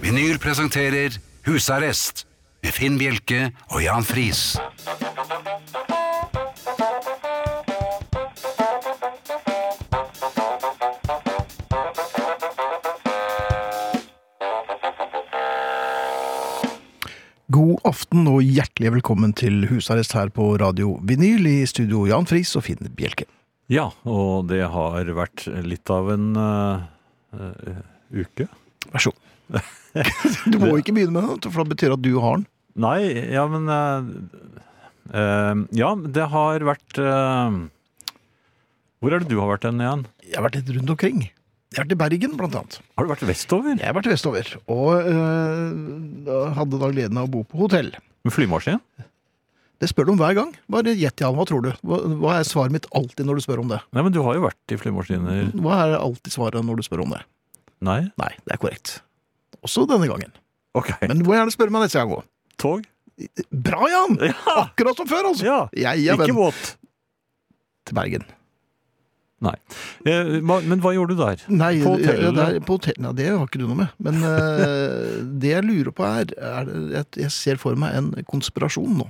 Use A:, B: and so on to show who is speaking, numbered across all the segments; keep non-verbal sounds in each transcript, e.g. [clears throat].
A: Vinyl presenterer Husarrest med Finn Bjelke og Jan Friis.
B: God aften og hjertelig velkommen til husarrest her på Radio Vinyl i studio Jan Friis og Finn Bjelke.
C: Ja, og det har vært litt av en eh, eh, uke.
B: Vær så god. [laughs] Du må ikke begynne med den, for det betyr at du har den.
C: Nei, ja, men eh, eh, Ja, det har vært eh, Hvor er det du har vært hen igjen?
B: Jeg har vært litt rundt omkring. Jeg har vært i Bergen, blant annet.
C: Har du vært vestover?
B: Jeg har vært vestover, og øh, da hadde da gleden av å bo på hotell.
C: Med flymaskin?
B: Det spør du om hver gang. Bare gjett, Jan, hva tror du? Hva, hva er svaret mitt alltid når du spør om det?
C: Nei, men du har jo vært i flymaskiner.
B: Hva er alltid svaret når du spør om det?
C: Nei?
B: Nei, det er korrekt. Også denne gangen.
C: Ok.
B: Men du må gjerne spørre meg neste gang òg.
C: Tog?
B: Bra, Jan!
C: Ja!
B: Akkurat som før, altså!
C: [laughs] ja.
B: Jeg er
C: Ikke
B: venn
C: båt.
B: til Bergen.
C: Nei. Eh, hva- men hva gjorde du der?
B: Nei,
C: På hotellet?
B: ja, det er- på hotell, nei, det har ikke du noe med.
C: [laughs]
B: Men eh, det jeg lurer på er, er det- at Jeg ser for meg en konspirasjon nå.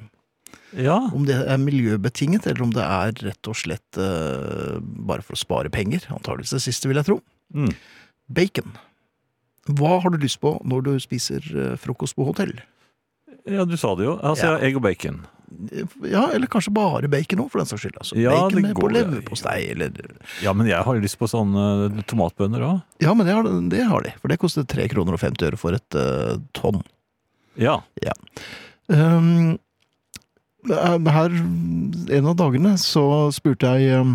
C: Ja.
B: Om det er miljøbetinget, eller om det er rett og slett eh, bare for å spare penger. Antakeligvis det siste, vil jeg tro.
C: Mm.
B: Bacon. Hva har du lyst på når du spiser eh, frokost på hotell?
C: ja, du sa det jo. Altså,
B: Ja.
C: egg og bacon.
B: Eh, Ja, eller kanskje bare bacon òg, for den saks skyld. Altså.
C: Ja,
B: bacon
C: det
B: med på
C: går-
B: leverpostei, eller
C: Ja, men jeg har jo lyst på sånne tomatbønner òg.
B: Ja, men det har, det har de. For det koster 3 kroner og 50 øre for et eh, tonn.
C: Ja.
B: Um, her en av dagene så spurte jeg um,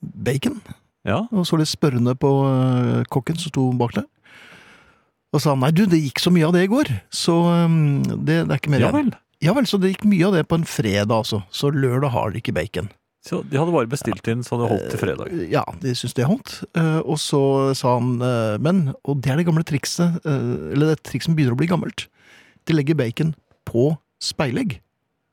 B: bacon,
C: Ja.
B: og så litt spørrende på uh, kokken som sto bak der. Og sa han, nei du, det gikk så mye av det i går, så um, det, det er ikke mer
C: ja
B: igjen.
C: vel.
B: Ja vel, så det gikk mye av det på en fredag altså. Så lørdag har de ikke bacon.
C: Så de hadde bare bestilt inn, så hadde holdt til fredag.
B: Eh, Ja, de syntes det holdt. Eh, Og så sa han eh, Men, og det er det gamle trikset eh, Eller det trikset som begynner å bli gammelt. De legger bacon på speilegg.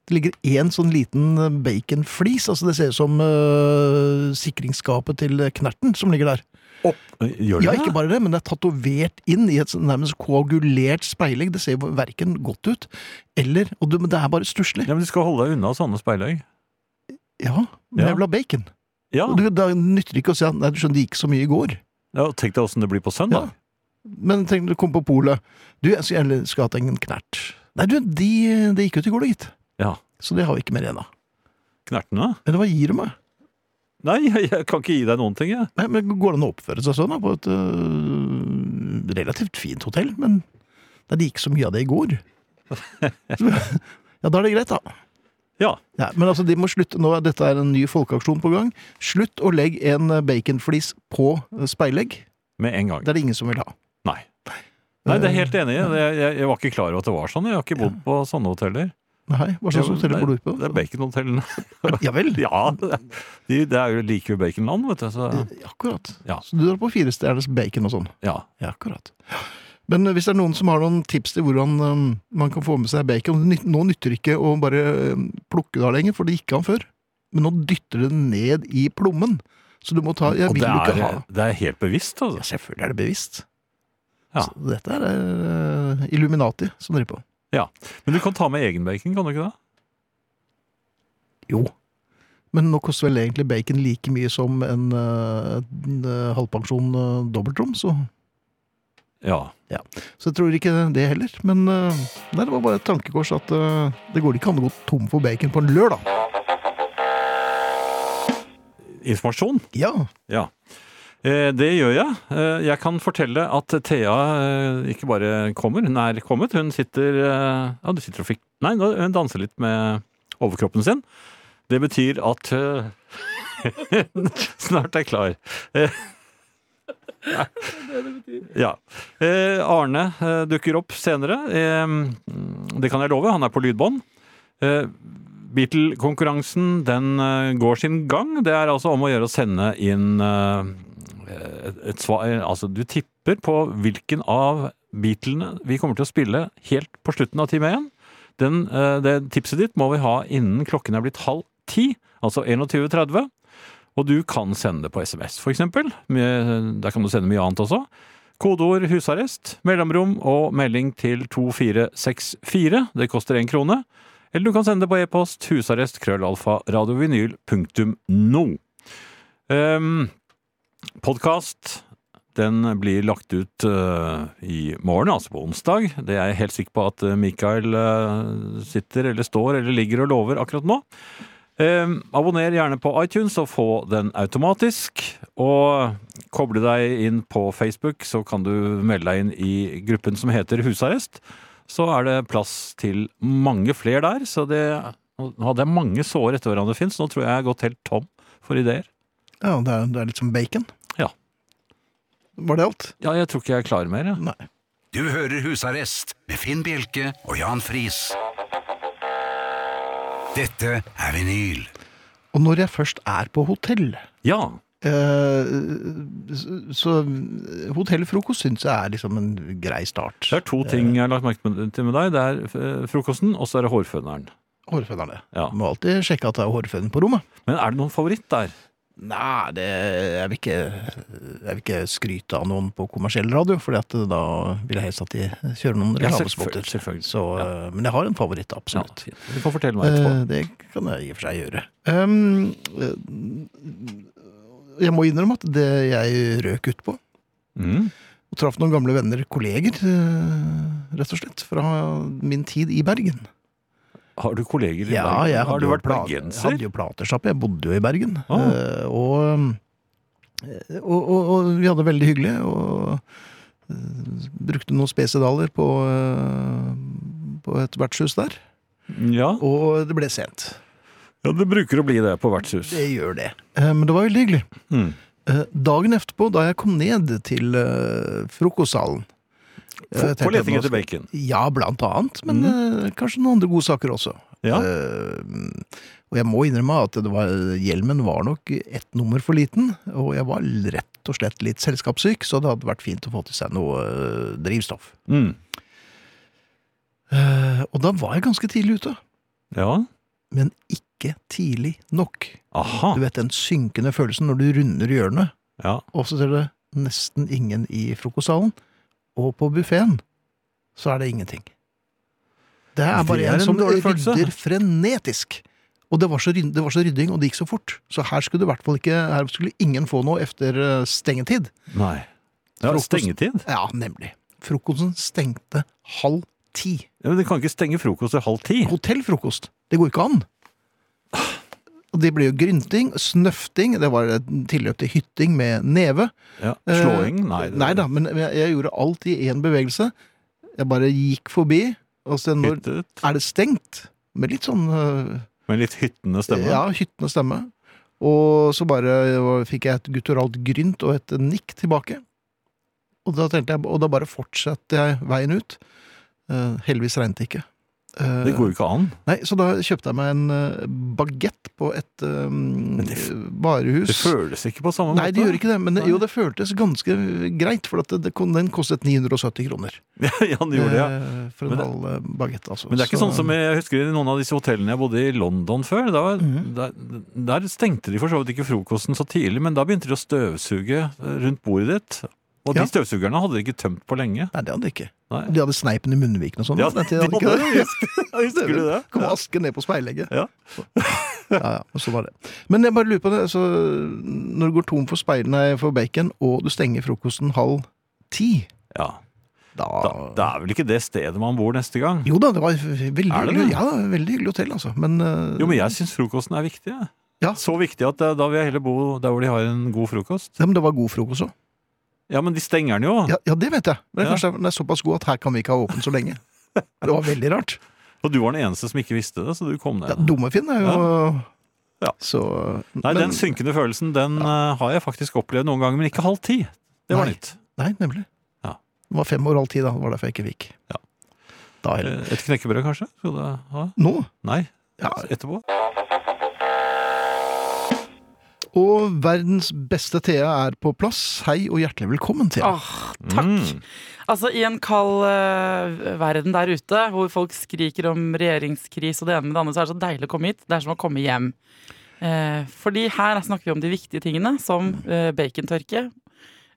B: Det ligger én sånn liten baconflis. Altså det ser ut som eh, sikringsskapet til Knerten som ligger der.
C: Gjør de
B: Ja,
C: det?
B: ikke bare det, men det er tatovert inn i et sånn nærmest koagulert speilegg. Det ser jo verken godt ut eller Og det, men det er bare stusslig.
C: Ja, men Du skal holde deg unna sånne
B: Ja,
C: speilegg.
B: men
C: Ja. Ah.
B: jeg vil ha bacon.
C: Ja,
B: Og du, da nytter det ikke å si at nei, du skjønner det gikk så mye i går.
C: ja og Tenk deg åssen det blir på søndag.
B: Men tenk, du kom på polet. Du, jeg skulle gjerne skulle hatt en knert. Nei, du, de, det gikk ut i går, da, gitt.
C: Ja.
B: Så det har vi ikke mer igjen av.
C: Knertene?
B: Eller hva gir du meg?
C: Nei, [laughs] jeg, jeg kan ikke gi deg noen ting, jeg.
B: Nei, men Går det an å oppføre seg sånn da, på et øh, relativt fint hotell? Men nei, det gikk så mye av det i
C: [laughs]
B: går. ja, da er det greit, da.
C: Ja.
B: Ja, men altså, de må slutte, nå er dette er en ny folkeaksjon på gang. Slutt å legge en øh, baconflis på øh, speilegg.
C: Med en gang.
B: Det er det ingen som vil ha.
C: Nei. Nei, det er jeg helt enig i. Det- Jeg, jeg var ikke klar over at det var sånn. Jeg har ikke bodd på sånne hoteller.
B: Nei, Hva slags
C: Det-
B: hotell bor du på?
C: Det er baconhotellene. [laughs]
B: Ja vel.
C: Ja, de, det er jo like ved baconland, vet du. Så,
B: Akkurat.
C: Ja.
B: Så du drar på firestjerners bacon og sånn?
C: ja.
B: Ja, akkurat. Men eh, hvis det er noen som har noen tips til hvordan um, man kan få med seg bacon nyt- Nå nytter det ikke å bare um, plukke det av lenger, for det gikk an før. Men nå dytter det ned i plommen. Så du må ta Jeg
C: Og
B: vil
C: det
B: jo ikke ha
C: er, eh, det er helt bevisst,
B: ja,
C: altså.
B: Selvfølgelig er det bevisst.
C: Ja.
B: Så dette er uh, Illuminati som driver på.
C: Men du kan ta med egen bacon, kan du ikke det?
B: Jo. Men nå koster vel egentlig bacon like mye som en, uh, en uh, halvpensjon uh, dobbeltrom, så,
C: Ja.
B: så jeg tror ikke det heller. Men uh, nei, det var bare et tankekors at uh, det går ikke an å gå tom for bacon på en lørdag.
C: Informasjon?
B: Ja.
C: Ja. Eh, Det gjør jeg. Eh, Jeg kan fortelle at Thea eh, ikke bare kommer, hun er kommet. Hun sitter eh, Ja, du sitter og fikk Nei, nå- hun danser litt med overkroppen sin. Det betyr at eh, [laughs] hun snart er klar. Eh, Ja. Eh, Arne eh, dukker opp senere. Eh, mm, Det kan jeg love. Han er på lydbånd. Eh, Beatle-konkurransen den eh, går sin gang. Det er altså om å gjøre å sende inn eh, et, et svar eh, Altså, du tipper på hvilken av Beatlene vi kommer til å spille helt på slutten av time 1. Den, eh, det tipset ditt må vi ha innen klokken er blitt halv ti, altså 21.30. Og du kan sende det på SMS, for eksempel. Med, der kan du sende mye annet også. Kodeord 'husarrest', mellomrom og melding til 2464. Det koster én krone. Eller du kan sende det på e-post husarrest krøllalfa radiovinyl punktum no. Um, Podkast den blir lagt ut eh, i morgen, altså på onsdag. Det er jeg helt sikker på at eh, Mikael eh, sitter eller står eller ligger og lover akkurat nå. Eh, abonner gjerne på iTunes og få den automatisk. Og koble deg inn på Facebook, så kan du melde deg inn i gruppen som heter Husarrest. Så er det plass til mange flere der. Så det Nå hadde jeg mange sår etter hverandre, Finn, så nå tror jeg jeg har gått helt tom for ideer.
B: Ja, det er, det er litt som bacon.
C: Ja.
B: Var det alt?
C: Ja, jeg tror ikke jeg klarer mer, jeg.
B: Nei.
A: Du hører Husarrest med Finn Bjelke og Jan Friis. Dette er vinyl.
B: Og når jeg først er på hotell
C: Ja.
B: eh, så- Så hotellfrokost syns jeg er liksom en grei start.
C: Det er to ting jeg har lagt merke med- til med deg. Det er eh, frokosten, og så er det hårføneren.
B: Hårfønerne.
C: Ja.
B: Må alltid sjekke at det er hårføn på rommet.
C: Men er det noen favoritt der?
B: Nei, det, jeg, vil ikke, jeg vil ikke skryte av noen på kommersiell radio, for da vil jeg helst at de kjører noen
C: Ja,
B: reklamespotter.
C: selvfø- selvfølgelig.
B: Så, eh, Men jeg har en favoritt,
C: Ja,
B: absolutt.
C: du kan fortelle meg etterpå.
B: Eh, det kan jeg i og for seg gjøre. Um, eh, jeg må innrømme at det jeg røk ut på,
C: Mm.
B: og traff noen gamle venner, kolleger, eh, rett og slett, fra min tid i Bergen.
C: Har du kolleger i
B: Ja,
C: Bergen?
B: jeg hadde
C: Har du
B: jo
C: vært
B: pla- Jeg
C: bergenser?
B: hadde jo platesjappe, jeg bodde jo i Bergen.
C: Ah.
B: Eh, og, eh, og, og, og vi hadde det veldig hyggelig, og eh, brukte noen spesidaler på, eh, på et vertshus der.
C: Ja.
B: Og det ble sent.
C: ja, det bruker å bli det på vertshus.
B: Det gjør det. Eh, men det var veldig hyggelig.
C: Mm.
B: Eh, dagen etterpå, da jeg kom ned til eh, frokostsalen
C: På-
B: jeg tenkte
C: På
B: at
C: leting
B: nå
C: etter
B: skal-
C: bacon.
B: Ja, blant annet, men eh, kanskje noen andre gode saker også.
C: Ja.
B: Eh, og jeg må innrømme at det var, hjelmen var nok ett nummer for liten, og jeg var rett og slett litt selskapssyk, så det hadde vært fint å få til seg noe eh, drivstoff.
C: Mm.
B: Eh, og da var jeg ganske tidlig ute,
C: Ja.
B: men ikke tidlig nok.
C: Aha.
B: Du vet den synkende følelsen når du runder hjørnet,
C: Ja.
B: og så ser du nesten ingen i frokostsalen, og på buffeen så er det ingenting. Det er
C: Det
B: bare en
C: er en
B: som
C: dårlig følelse.
B: rydder frenetisk. Og det var, så, ryd- det var så rydding, og det gikk så fort. Så her skulle det i hvert fall ikke, her skulle ingen få noe efter eh, stengetid.
C: Nei. Ja,
B: Frokost.
C: stengetid?
B: Ja, nemlig. Frokosten stengte halv ti.
C: Ja, men De kan ikke stenge frokost til halv ti.
B: Hotellfrokost. Det går ikke an. Og det ble jo grynting, snøfting, det var et tilløp til hytting med neve.
C: Ja.
B: Eh,
C: Slåing? Nei. det-
B: Nei da, men jeg, jeg gjorde alt i én bevegelse. Jeg bare gikk forbi, og så når
C: Hyttet.
B: er det stengt? Med litt sånn øh,
C: Med litt hyttende stemme.
B: Ja, hyttende stemme. Og så bare øh, fikk jeg et gutturalt grynt og et nikk tilbake. Og da, tenkte jeg, og da bare fortsatte jeg veien ut. Eh, heldigvis regnet det ikke. Eh,
C: Det går jo ikke an.
B: Nei, Så da kjøpte jeg meg en uh, bagett på et øh,
C: det f-
B: varehus.
C: Det føles ikke på samme
B: Nei,
C: måte.
B: det gjør ikke det, men det,
C: Nei.
B: jo, det føltes ganske greit, for at det, det, kon- den kostet 970 kroner.
C: [laughs] ja, det gjorde det. Ja.
B: Eh, For
C: Men
B: en
C: det-
B: halv eh, bagett, altså.
C: Men det er ikke
B: Så-
C: sånn som jeg, jeg husker i noen av disse hotellene jeg bodde i London før. Da,
B: Mhm.
C: der, der stengte de for så vidt ikke frokosten så tidlig, men da begynte de å støvsuge eh, rundt bordet ditt. Og de
B: Ja.
C: støvsugerne hadde de ikke tømt på lenge.
B: Nei, det hadde de ikke.
C: Nei.
B: De hadde sneipen i munnviken og sånn.
C: Ja,
B: på den
C: de
B: tiden, hadde de ikke
C: hadde det, [laughs] husker- Husker du
B: [laughs]
C: det?
B: Kom aske ned på speilegget.
C: Ja.
B: [laughs] Ja, ja, men så var det. Men jeg bare lurer på det, så når du går tom for speil, nei, for bacon, og du stenger frokosten halv ti,
C: Ja.
B: da,
C: Da, det er vel ikke det stedet man bor neste gang.
B: Jo da, det var veldig
C: Er det
B: hyggelig.
C: det?
B: Ja, da, veldig hyggelig hotell, altså. Men, eh,
C: Jo, men jeg syns frokosten er viktig. jeg.
B: Ja.
C: Så viktig at eh, da vil jeg heller bo der hvor de har en god frokost.
B: ja, men det var god frokost òg.
C: Ja, men de stenger den jo.
B: Ja, ja, det vet jeg. Men det er
C: Ja.
B: kanskje den er såpass god at her kan vi ikke ha åpen så lenge. Det var veldig rart.
C: Og du var den eneste som ikke visste det, så du kom ned.
B: Ja, Dummefinn er jo
C: Ja.
B: Så
C: Nei,
B: men-
C: den synkende følelsen den eh, har jeg faktisk opplevd noen ganger, men ikke halv ti. Det var
B: Nei.
C: nytt.
B: Nei, nemlig.
C: Ja.
B: Det var fem år halv ti, da. Det var derfor jeg ikke fikk.
C: Ja.
B: Da
C: Eh,
B: heller.
C: Et knekkebrød, kanskje? Skal du ha?
B: Nå?
C: Nei,
B: Ja.
C: etterpå?
B: Og verdens beste Thea er på plass. Hei og hjertelig velkommen, Thea.
D: Åh, takk.
C: Mm.
D: Altså, i en kald eh, verden der ute, hvor folk skriker om regjeringskris og det ene med det andre, så er det så deilig å komme hit. Det er som å komme hjem. Eh, fordi her snakker vi om de viktige tingene, som eh, bacontørke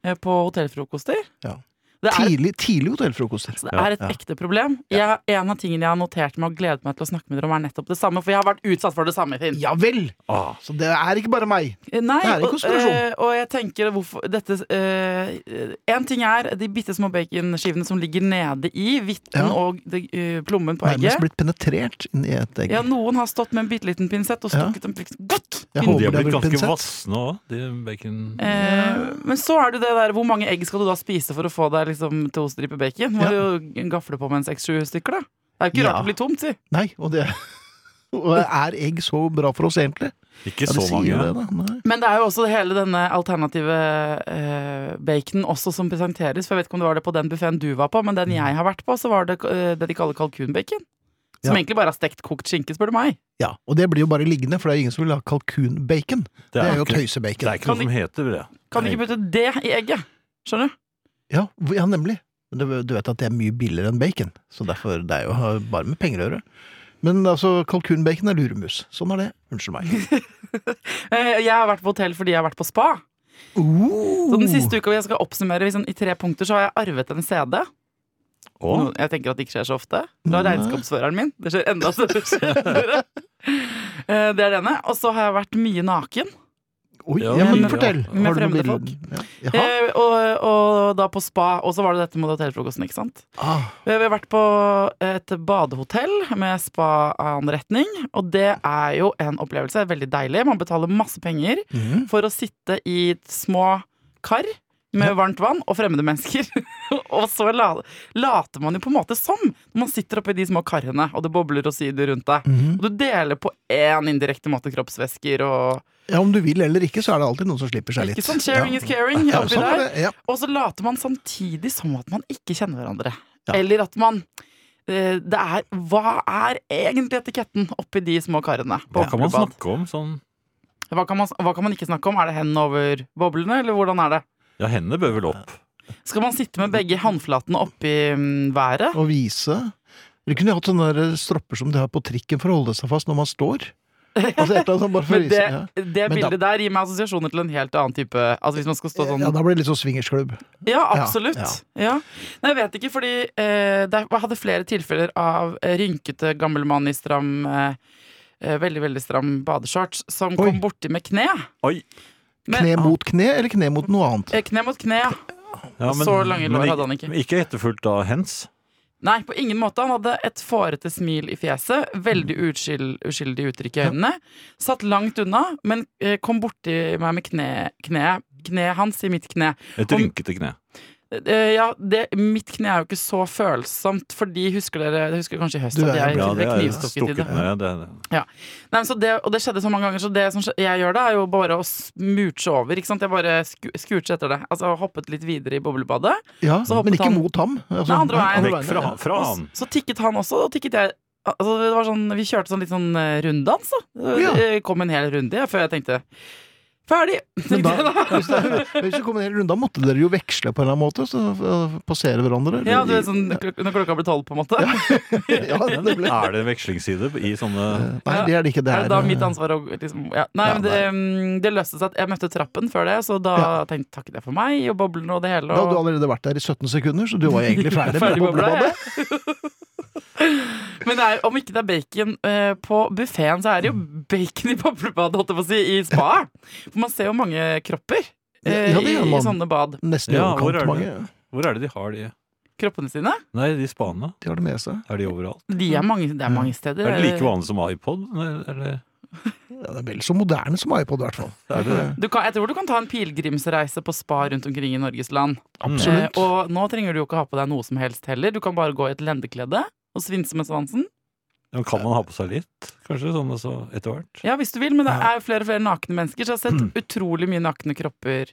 D: eh, på hotellfrokoster.
B: Ja.
D: Det er,
B: Tidlig, tidlig hotellfrokoster.
D: så det er et
B: Ja.
D: ekte problem. Jeg, en av tingene jeg har notert meg og gledet meg til å snakke med dere om, er nettopp det samme. For jeg har vært utsatt for det samme, Finn.
B: Ja vel!
C: Ah.
B: Så det er ikke bare meg.
D: Eh, Nei,
B: Det er en
D: og,
B: konspirasjon.
D: eh, og jeg tenker hvorfor dette eh, En ting er de bitte små baconskivene som ligger nede i hvitten
B: Ja.
D: og det, eh, plommen på egget.
B: Nærmest blitt penetrert inn i et egg.
D: Ja, noen har stått med en bitte liten pinsett og
B: Ja.
D: stukket en pinsett Godt!
B: Jeg
C: De
B: håper
C: har
B: det er
C: blitt
B: vel
C: ganske
B: pinsett.
C: vassende òg, de bacon...
D: Eh, men så er det det der Hvor mange egg skal du da spise for å få deg liksom, to striper bacon? Må
B: Ja.
D: jo gafle på med en seks-sju stykker, da. Det er jo ikke
B: Ja.
D: rart det blir tomt, si.
B: Nei, og det [laughs] og er egg så bra for oss, egentlig?
C: Ikke
B: Ja,
C: så
B: det sier
C: mange.
B: jo
C: ja.
B: det, da. Nei.
D: Men det er jo også hele denne alternative eh, baconen også som presenteres. For jeg vet ikke om det var det på den buffeen du var på, men den jeg har vært på, så var det eh, det de kaller kalkunbacon. Som
B: Ja.
D: egentlig bare er stekt kokt skinke, spør du meg.
B: Ja, og det blir jo bare liggende, for det er jo ingen som vil ha kalkunbacon. Det er jo
C: ikke, det
B: tøysebacon.
C: er ikke noe som heter det.
D: Kan de
C: Nei.
D: ikke putte det i egget? Skjønner du?
B: Ja, hvor- ja, nemlig. Men det- Du vet at det er mye billigere enn bacon, så derfor det er jo bare med penger å gjøre. Men altså, kalkunbacon er luremus. Sånn er det. Unnskyld meg.
D: Eh, jeg har vært på hotell fordi jeg har vært på spa. Så
B: Uh.
D: den siste uka hvor jeg skal oppsummere i sånn- i tre punkter, så har jeg arvet en CD.
C: Å,
D: Noe- Jeg tenker at det ikke skjer så ofte. Fra
B: Nei.
D: regnskapsføreren min. Det skjer enda større skjer. Eh, Det er det ene. Og så har jeg vært mye naken.
B: Oi,
C: Ja,
B: ja, men
D: ja.
B: fortell.
D: Med
B: Har du noen
D: fremmede
B: bilder? Ja. Jaha.
D: Eh, Og, og da på spa. Og så var det dette med hotellfrokosten, ikke sant.
B: Ah,
D: Vi har vært på et badehotell med spaanretning, og det er jo en opplevelse. Det er veldig deilig. Man betaler masse penger
B: mhm.
D: for å sitte i små kar med varmt vann og fremmede mennesker. [laughs] og så la, later man jo på en måte som når man sitter oppi de små karene, og det bobler og syder rundt deg.
B: Mhm.
D: Og du deler på én indirekte måte kroppsvæsker og
B: Ja, om du vil eller ikke, så er det alltid noen som slipper seg litt.
D: Ikke sånn sharing
B: ja.
D: is
B: [laughs]
D: caring
B: Ja,
D: oppi
B: sånn er
D: der.
B: det. Ja.
D: Og så later man samtidig som at man ikke kjenner hverandre.
B: Ja.
D: Eller at man eh, det er, Hva er egentlig etiketten oppi de små karene? på
C: Hva kan man
D: ordentlig bad?
C: snakke om sånn?
D: hva kan, man, hva kan man ikke snakke om? Er det hendene over boblene, eller hvordan er det?
C: Ja, hendene bør vel opp.
D: Skal man sitte med begge håndflatene oppi mm, været?
B: Og vise. Dere kunne jo hatt sånne der stropper som de har på trikken for å holde seg fast når man
D: [laughs]
B: står. Altså et eller annet sånt bare for å
D: Men
B: vise.
D: det,
B: ja.
D: det
B: Men da-
D: bildet der gir meg assosiasjoner til en helt annen type Altså hvis man skal stå sånn
B: Ja, da blir det litt sånn swingersklubb.
D: Ja,
B: Ja,
D: absolutt. Ja, Nei, jeg vet ikke, fordi eh, det, jeg hadde flere tilfeller av eh, rynkete gammel mann i stram eh, eh, Veldig, veldig stram badeshorts som
B: Oi.
D: kom borti med kne.
C: Oi.
D: Men-
B: Kne mot kne, eller kne mot noe annet?
D: Eh, kne mot kne, ja.
C: Ja,
D: Så lange lår
C: men
D: hadde han ikke.
C: men Ikke etterfulgt av hens.
D: Nei, på ingen måte. Han hadde et fårete smil i fjeset. Veldig
B: Mm.
D: uskyld, uskyldig uttrykk i øynene. Satt langt unna, men eh, kom borti meg med kne, kneet. Kneet hans i mitt kne.
C: Et
D: Om-
C: rynkete kne.
D: Eh, ja, det, mitt kne er jo ikke så følsomt, fordi husker dere jeg husker kanskje i høst
B: Du
D: at
B: er-
D: jeg
B: Ja,
D: ble
C: er
D: knivstukket i det.
C: stukket ned. Det, det.
D: Nei, men så det, og det skjedde så mange ganger, så det som skje- jeg gjør da, er jo bare å smurche over. Ikke sant? Jeg bare sku, skurte etter det. Altså hoppet litt videre i boblebadet.
B: Ja,
D: Så hoppet
B: men ikke
D: han-
B: mot ham. Altså,
D: Nei, andre veien.
C: Vekk fra,
B: ja.
C: fra
D: Og
C: han.
D: [laughs] s- så tikket han også, og tikket jeg. Altså, det var sånn, vi kjørte sånn litt sånn eh, runddans, da. Det
B: Ja.
D: eh, kom en hel runde ja, før jeg tenkte Ferdig!
B: Men da,
D: tenkte jeg da.
B: hvis, det, men hvis det kom en hel runde, da måtte dere jo veksle på en eller annen måte. Så uh, passere hverandre.
D: [laughs] Ja, du vet sånn klok når klokka ble tolv, på en måte.
B: ja,
D: [laughs]
B: det ble.
C: Er det vekslingsside i sånne
B: Nei, det er det ikke. Det
D: Er det da
B: uh,
D: mitt ansvar å liksom ja. Nei,
B: Ja,
D: men det, mm, det løste seg at jeg møtte trappen før det, så da tenkte takket jeg for meg, og boblene og det hele.
B: Da hadde du
D: Og...
B: allerede vært der i 17 sekunder, så du var jo egentlig
D: [laughs]
B: ferdig med
D: Ferdig med
B: boblebadet.
D: [laughs] Men det er, om ikke det er bacon eh, på buffeen, så er det jo
B: Mm.
D: bacon i boblebadet, holdt jeg på å si, i spa. For man ser jo mange kropper eh,
B: Ja, det
D: i,
B: gjør
D: i
B: man.
D: sånne bad.
B: Nesten i
C: Ja, hvor er
B: overkant
C: det?
B: mange.
C: Hvor er det de har de?
D: Kroppene sine.
C: Nei, de spanene.
B: De har det med seg.
C: Er de overalt?
D: De
B: Mm.
D: er mange, det er mange steder.
C: Er det like vanlig som iPod? Nei, Eller?
B: Ja, det er vel så moderne som iPod, i hvert fall.
C: Er det det?
D: Du kan, jeg tror du kan ta en pilegrimsreise på spa rundt omkring i Norges land. Eh,
B: Absolutt.
D: og nå trenger du jo ikke ha på deg noe som helst heller. Du kan bare gå i et lendeklede og svinse med svansen.
C: Ja, kan man ha på seg litt? Kanskje sånn altså, etter hvert?
D: Ja, hvis du vil, men det er jo flere og flere nakne mennesker, så jeg har
B: Mm.
D: sett utrolig mye nakne kropper.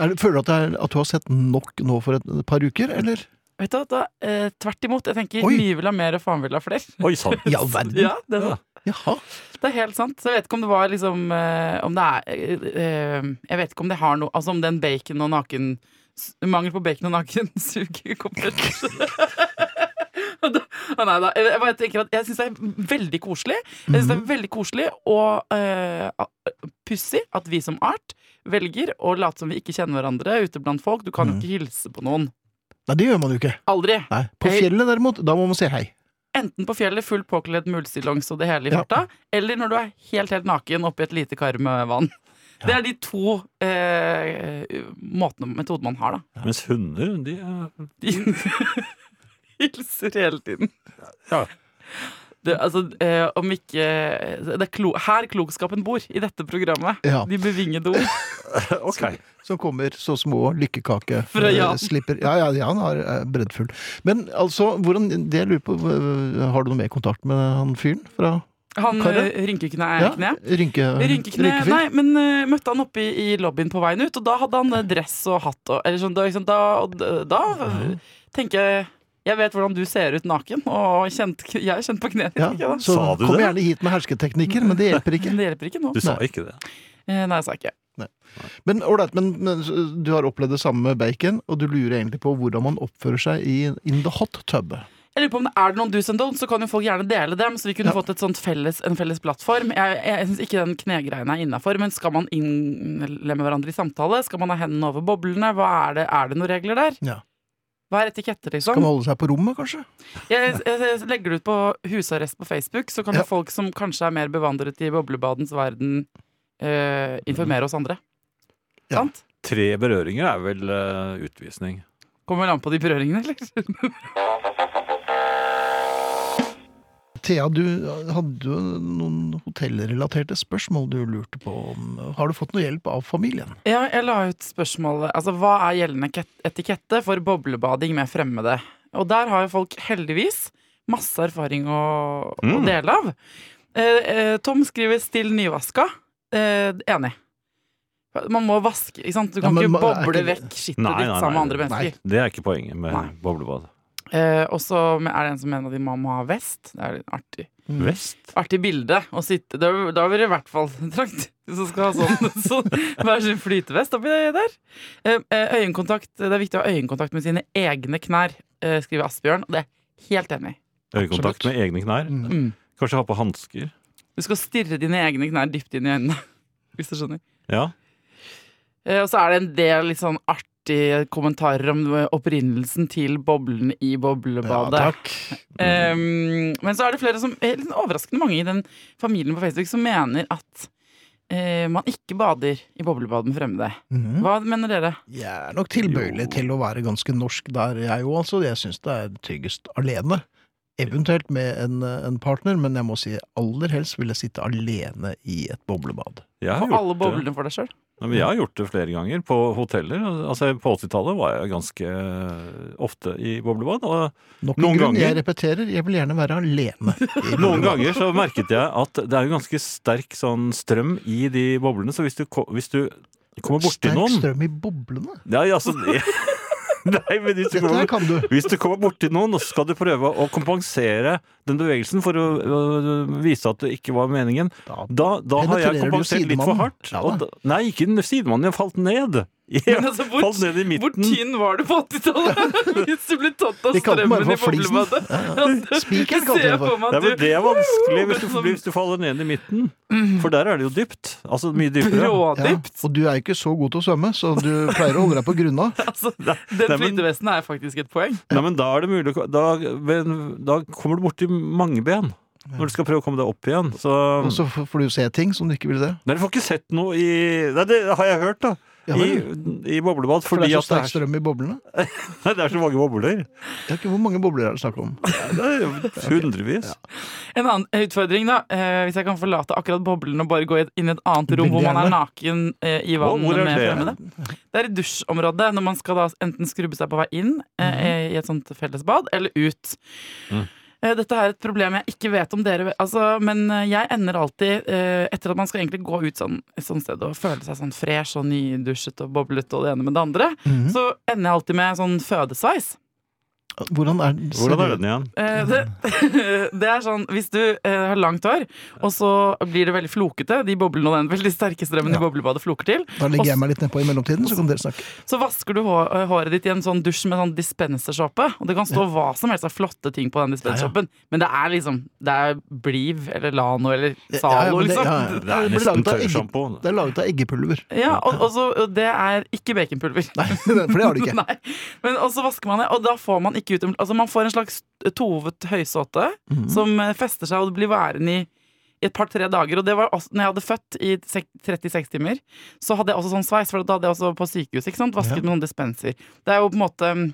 B: Er det, føler du at, det er, at du har sett nok nå for et par uker, eller?
D: Vet du hva, da, eh, Tvert imot. Jeg tenker
B: Oi.
D: mye vil ha mer, og faen vil ha flere.
C: Oi sann!
B: Ja, verden.
D: [laughs] Ja, det, sånn.
C: Ja.
B: Jaha.
D: det er helt sant. Så jeg vet ikke om det var liksom eh, Om det er eh, eh, Jeg vet ikke om det har noe Altså om den bacon og naken Mangel på bacon og naken [laughs] suger komplett. [laughs] Og da- å Nei da. Jeg, bare tenker at jeg syns det er veldig koselig. Jeg synes det er veldig koselig og eh, a- pussig at vi som art velger å late som vi ikke kjenner hverandre ute blant folk. Du kan jo
B: Mhm.
D: ikke hilse på noen.
B: Nei, det gjør man jo ikke.
D: Aldri.
B: Nei. På
D: Hei.
B: fjellet, derimot, da må man si hei.
D: Enten på fjellet, full påkledd mulestillongs og det hele i
B: Ja.
D: farta, eller når du er helt helt naken oppi et lite kar med vann. Det er de to eh, måtene, metodene man har, da.
C: Mens hunder, de er
D: De [laughs] hilser hele tiden.
C: Ja.
D: Det, altså, eh, om ikke eh, det er klo, Her klokskapen bor, i dette programmet.
B: Ja.
D: De bevingede ord.
C: Ok.
B: Som kommer så små lykkekake
D: [laughs] Fra
B: eh,
D: Jan.
B: Slipper. Ja, ja, Jan er eh, breddfull. Men altså, hvordan, det jeg lurer på, eh, har du noe mer kontakt med han fyren fra
D: Han
B: Karer?
D: eh, rynkekne er
B: ja,
D: kne.
B: Rynke,
D: Rynkekne,
B: Eh, rynkefyr?
D: nei, men eh, møtte han oppe i, i lobbyen på veien ut, og da hadde han eh, dress og hatt og Eller sånn, da, liksom, da, og d- da
B: Mhm.
D: tenker jeg Jeg vet hvordan du ser ut naken, og kjent, jeg er kjent på knærne.
B: Ja,
D: ikke da?
B: så
C: Sa du
B: kom
C: det?
B: gjerne hit med hersketeknikker, men det hjelper
D: [laughs]
B: ikke.
D: Men det hjelper ikke nå.
C: Du sa ikke det.
D: Eh, Nei, sa jeg ikke.
B: Men, all right, men, men så du har opplevd det samme med bacon, og du lurer egentlig på hvordan man oppfører seg i in the hot tub.
D: Jeg lurer på om det er det noen do's and don'ts, så kan jo folk gjerne dele dem. Så vi kunne
B: Ja.
D: fått et sånt felles, en felles plattform. Jeg, jeg syns ikke den knegreien er innafor, men skal man innlemme hverandre i samtale? Skal man ha hendene over boblene? Hva er det, er det noen regler der?
B: Ja.
D: Hva er etikette,
B: Kan
D: liksom?
B: man holde seg på rommet, kanskje?
D: Jeg, jeg, jeg legger det ut på husarrest på Facebook, så kan
B: Ja.
D: jo folk som kanskje er mer bevandret i boblebadens verden, eh, informere oss andre.
B: Ja.
D: Sant?
C: Tre berøringer er vel eh, utvisning.
D: Kommer vel an på de berøringene, eller?
B: Thea, du hadde jo noen hotellrelaterte spørsmål du lurte på om. Har du fått noe hjelp av familien?
D: [laughs] Ja, jeg la ut spørsmålet Altså, hva er gjeldende ket- etikette for boblebading med fremmede? Og der har jo folk heldigvis masse erfaring å, å
C: Mm.
D: dele av. Eh, eh, Tom skriver 'still nyvaska'. Eh, enig. Man må vaske, ikke sant? Du
B: Ja,
D: kan
B: men
D: ikke
B: man- er
D: boble
B: ikke-
D: vekk skittet
C: Nei,
D: ditt
C: nei,
D: sammen med
C: nei.
D: andre mennesker.
B: Nei.
C: Det er ikke poenget med
D: Nei.
C: boblebad.
D: Eh, og så er det en som mener at de må må ha vest. Det er litt artig.
C: Vest?
D: Artig bilde å sitte Da da vil det i hvert fall [laughs] trangt. Hvis man skal ha sånn, [laughs] sånn hver sin flytevest oppi det der. Eh, eh, øyekontakt, det er viktig å ha øyekontakt med sine egne knær, eh, skriver Asbjørn. Og det er jeg helt enig i.
C: Øyekontakt med egne knær.
B: Mm.
D: Mm.
C: Kanskje ha på hansker.
D: Du skal stirre dine egne knær dypt inn i øynene. [laughs] Hvis du skjønner.
C: Ja.
D: Eh, og så er det en del litt sånn artige kommentarer om eh, opprinnelsen til boblene i boblebadet.
B: takk.
D: Um, men så er det flere som eh, litt overraskende mange i den familien på Facebook som mener at eh, man ikke bader i boblebad med fremmede.
C: Mm.
B: Mhm.
D: Hva mener dere?
B: Jeg er nok tilbøyelig
C: Jo.
B: til å være ganske norsk der, jeg òg, altså. Jeg syns det er tryggest alene. Eventuelt med en, en partner, men jeg må si aller helst vil jeg sitte alene i et boblebad.
C: Jeg har
D: Og alle
C: gjort det.
D: boblene for deg sjøl?
C: Nei, men jeg har gjort det flere ganger på hoteller. Altså, på 80-tallet var jeg ganske eh, ofte i boblebad. Og
B: Nok
C: Noen
B: en grunn,
C: ganger-
B: jeg repeterer, jeg vil gjerne være alene. i
C: [laughs] noen
B: boblebad.
C: ganger så merket jeg at det er jo ganske sterk sånn strøm i de boblene. Så hvis du, ko- hvis du kommer borti
B: Sterk
C: noen
B: strøm i boblene.
C: Nei, altså det, [laughs] Nei, men hvis du
B: Dette her
C: kommer
B: kan du.
C: hvis du kommer borti noen, så skal du prøve å kompensere den bevegelsen for å øh, vise at det ikke var meningen.
B: Da
C: [laughs] Da, da har
B: Penetrerer
C: jeg
B: du
C: kompensert litt for
B: sidemannen?
C: hardt.
B: Ja da.
C: og da, nei, ikke den sidemannen. Jeg falt ned. [laughs] Jeg
D: Men altså, hvor-
C: falt ned i
D: Hvor
C: midten.
D: tynn var du
C: [laughs]
D: på 80-tallet? Hvis du ble tatt av
B: De kalte den bare
D: strømmen i
B: for flisen.
D: boblebadet? [laughs] Altså,
B: Spikeren
D: ser
B: kalte de
D: jeg
B: det for.
D: for meg
C: Nei,
D: at
C: men
D: du
C: det er vanskelig hvis du,
D: Men som-
C: hvis du faller ned i midten. For der er det jo dypt. Altså mye
D: [laughs]
C: dypere.
B: Ja,
D: Rådypt.
B: og du er jo ikke så god til å svømme, så du pleier å holde deg på
C: [laughs]
B: grunna.
D: Altså,
C: nei,
D: den
C: men-
D: flytevesten er faktisk et poeng.
C: Nei, men da er det mulig å ko- Da, men da kommer du borti mange ben når du skal prøve å komme deg opp igjen. Så
B: Og så f- får du jo se ting som du ikke vil se.
C: Nei, du får ikke sett noe i Nei, det har jeg hørt, da.
B: Ja,
C: I,
B: vel.
C: I boblebad.
B: For
C: Fordi
B: det er så
C: at
B: sterk
C: det er,
B: strøm i boblene.
C: nei, det er så [laughs] mange bobler.
B: Det er ikke hvor mange bobler er det snakk om.
C: Det er [laughs] hundrevis.
D: En annen utfordring, da. Eh, hvis jeg kan forlate akkurat boblen og bare gå i et- inn i et annet rom hvor man er naken eh, i vann
C: Hvor er
D: med
C: det?
D: fremmede. Det er i dusjområdet, når man skal da enten skrubbe seg på vei inn eh, i et sånt fellesbad, eller ut.
C: Mhm.
D: Eh, Dette er et problem jeg ikke vet om dere altså, Men eh, jeg ender alltid, eh, etter at man skal egentlig gå ut sånn, et sånt sted og føle seg sånn fresh og
C: Mm.
D: nydusjet og boblete og det ene med det andre,
B: Mhm.
D: så ender jeg alltid med sånn fødesveis.
B: Hvordan er den?
C: Hvordan er den igjen?
D: Eh, det, [laughs] det er sånn Hvis du eh, har langt hår, og så blir det veldig flokete De boblene og den veldig sterke strømmen i boblebadet floker til.
B: Da legger jeg meg litt nedpå i mellomtiden, så kan dere snakke.
D: Så vasker du hå- eh, håret ditt i en sånn dusj med sånn dispensersåpe. Og det kan stå hva som helst av flotte ting på den dispensersåpen, men det er liksom Det er Bliv eller Lano eller
B: Ja, ja,
D: Zalo,
B: men det-
D: liksom.
B: ja, ja.
C: Det er
B: Det blir
C: nesten
B: laget av egge-
C: tørrsjampo.
B: Det er laget av eggepulver.
D: Ja, og, og så, og det er ikke baconpulver.
B: Nei, [laughs] for det har de ikke.
D: [laughs] Nei. Men og så vasker man det, og da får man ikke ut Altså man får en slags tovet høysåte
B: Mhm.
D: som eh, fester seg og blir værende i i et par-tre dager. Og det var også, når jeg hadde født i sek- 36 timer, så hadde jeg også sånn sveis, for da hadde jeg også på sykehus, ikke sant? Vasket
B: Ja.
D: med noen dispenser. Det er jo på en måte mm,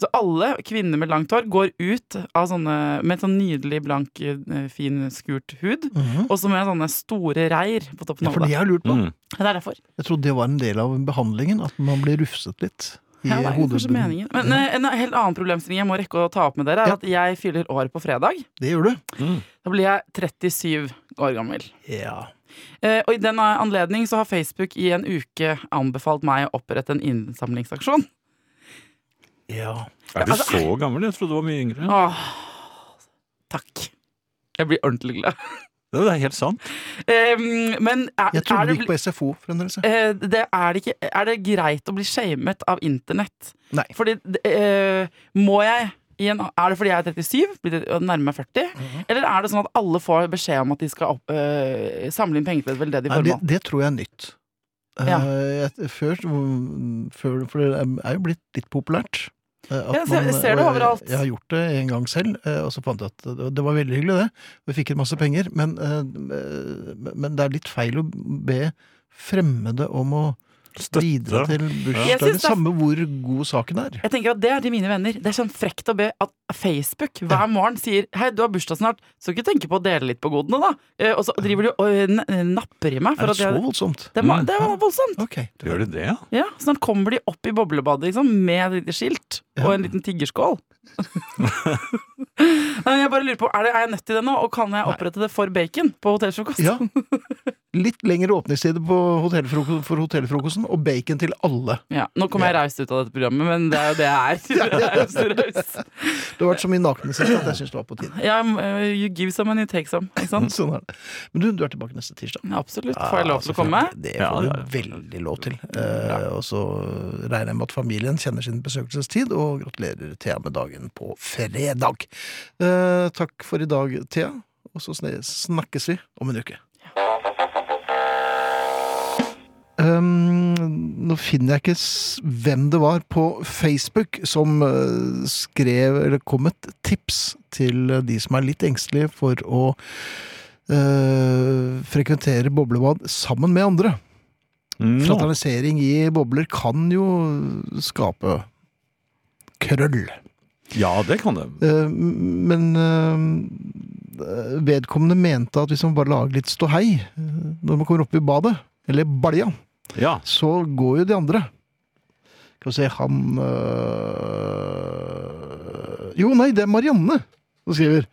D: Så alle kvinner med langt hår går ut av sånne med sånn nydelig blank, eh, fin, skurt hud,
B: Mhm.
D: og så med sånne store reir på toppen
B: Ja,
D: av
B: for det
D: hodet.
B: jeg har lurt på.
C: Mm.
D: Det er derfor.
B: Jeg trodde det var en del av behandlingen, at man blir rufset litt. I
D: Ja, det er jo kanskje
B: hodebunnen.
D: meningen. Men eh, en helt annen problemstilling jeg må rekke å ta opp med dere, er
B: Ja.
D: at jeg fyller år på fredag.
B: Det gjør du.
C: Mm.
D: Da blir jeg 37 år gammel.
B: Ja.
D: Eh, og i den anledning så har Facebook i en uke anbefalt meg å opprette en innsamlingsaksjon.
B: ja.
C: Er
B: Altså,
C: du så gammel? Jeg trodde du var mye
B: Mm.
C: yngre.
D: Åh, takk. Jeg blir ordentlig glad.
C: Det er helt sant.
D: Eh, men er,
B: Jeg trodde
D: er
B: du gikk
D: det,
B: på SFO fremdeles. jeg.
D: eh, det, er, det ikke, er det greit å bli shamet av internett?
B: Nei.
D: Fordi eh, Må jeg i en, Er det fordi jeg er 37 blir det- og nærmer meg 40?
B: Mhm.
D: Eller er det sånn at alle får beskjed om at de skal opp, eh, samle inn penger til et veldedig
B: Nei, det,
D: formål?
B: det tror jeg er nytt.
D: Ja.
B: Eh, jeg- Før, før For det er jo blitt litt populært. eh, at
D: Ja, jeg ser det
B: og jeg-
D: overalt.
B: Jeg har gjort det en gang selv, eh, og så fant jeg at det- det var veldig hyggelig, det. Vi fikk inn masse penger, men, eh, men det er litt feil å be fremmede om å bidra til
D: Jeg
B: bursdagen.
D: synes det er-
B: Samme hvor god saken er.
D: Jeg tenker at Det er til mine venner. Det er sånn frekt å be at Facebook hver morgen sier 'Hei, du har bursdag snart, så ikke tenke på å dele litt på godene', da. Eh, Og så driver de og eh, n- napper i meg. For
B: Er det Mm. så
D: at jeg,
B: voldsomt?
D: det, er, ma- det er voldsomt.
B: Ok.
C: Gjør de det, ja?
D: Ja, Snart kommer de opp i boblebadet liksom, med et lite skilt og en
B: [laughs]
D: liten tiggerskål. Nei, jeg bare lurer på, er, det, er jeg nødt til det nå, og kan jeg opprette det for bacon på hotellfrokost? [laughs]
B: Ja. Litt lengre åpningstid på hotellfroko- for hotellfrokosten, og bacon til alle.
D: Ja, Nå kom jeg raust ut av dette programmet, men det er jo det
B: [laughs]
D: jeg er. [laughs] Jeg er. så raus.
B: Det har vært så mye nakensex at jeg syns det var på tide.
D: Ja, eh, you give some and you take some. Ikke sant?
B: Sånn er det. Men du, du er tilbake neste tirsdag.
D: Absolutt. Får jeg lov til å
B: Ja,
D: komme?
B: Mm. Ah, selvfølgelig. Det
C: Ja,
B: får
C: ja, ja.
B: du veldig lov til. Eh, og så regner jeg med at familien kjenner sin besøkelsestid, og gratulerer Thea med dagen på fredag. Eh, takk for i dag, Thea. Og så sne- snakkes vi om en uke. Um, nå finner jeg ikke s- hvem det var på Facebook som eh, skrev eller kom med et tips til eh, de som er litt engstelige for å eh, frekventere boblebad sammen med andre.
C: Nå.
B: Fraternisering i bobler kan jo skape krøll.
C: Ja, det kan det.
B: Eh, Men eh, vedkommende mente at hvis man bare lager litt ståhei eh, når man kommer opp i badet, eller balja,
C: Ja.
B: så går jo de andre. Skal vi se Han øh... Jo, nei, det er Marianne som skriver.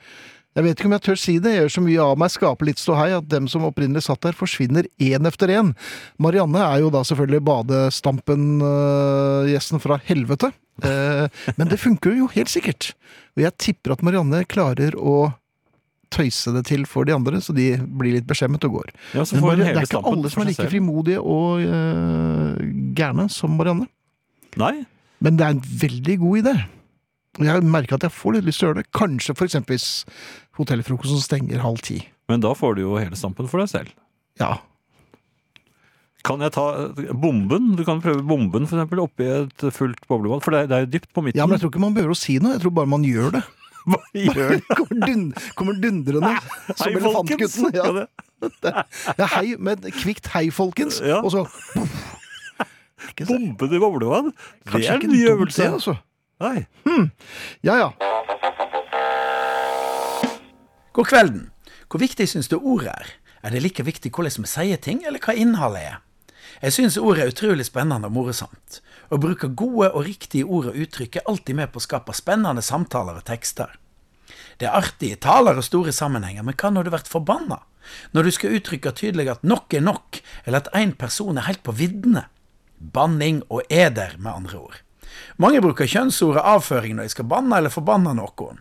B: Jeg vet ikke om jeg tør si det. Jeg gjør så mye av meg, skaper litt ståhei, at dem som opprinnelig satt der, forsvinner én etter én. Marianne er jo da selvfølgelig badestampen-gjesten fra helvete. Eh, Men det funker jo helt sikkert. Og jeg tipper at Marianne klarer å tøyse det til for de andre, så de blir litt beskjemmet og går.
C: ja så
B: Men
C: får
B: Marianne-
C: hun
B: det
C: hele
B: er ikke
C: stampen
B: alle som
C: for
B: er
C: seg
B: like
C: selv.
B: frimodige og øh, gærne som Marianne.
C: Nei.
B: Men det er en veldig god idé. Og Jeg merker at jeg får litt lyst til å gjøre det. Kanskje for eksempel hvis hotellfrokosten stenger halv ti.
C: Men da får du jo hele stampen for deg selv.
B: Ja.
C: Kan jeg ta eh, bomben? Du kan prøve bomben for eksempel, oppi et fullt boblebad. For det er, det er jo dypt på midten.
B: ja, men jeg tror ikke man behøver å si noe. Jeg tror bare man
C: [laughs]
B: gjør det.
C: Hva gjør
B: [laughs]
C: du?
B: Kommer, dun, kommer dundrende som
C: Hei, folkens!
B: elefantgutten. Ja.
C: Ja, det-
B: Ja, hei, med et kvikt 'hei, folkens',
C: Ja.
B: og så
C: [laughs]
B: Ikke sant?
C: Bomben i boblebad? Det
B: Kanskje
C: er
B: ikke
C: en ny
B: dumt,
C: øvelse.
B: det, altså.
C: Nei.
B: Ja, ja.
E: God kvelden. Hvor viktig syns du ordet er? Er det like viktig hvordan vi sier ting, eller hva innholdet er? Jeg syns ordet er utrolig spennende og morsomt. Å bruke gode og riktige ord og uttrykk er alltid med på å skape spennende samtaler og tekster. Det er artige taler og store sammenhenger, men hva når du blir forbanna? Når du skal uttrykke tydelig at nok er nok, eller at én person er helt på viddene? Banning og eder, med andre ord. Mange bruker kjønnsordet avføring når de skal banne eller forbanne noen.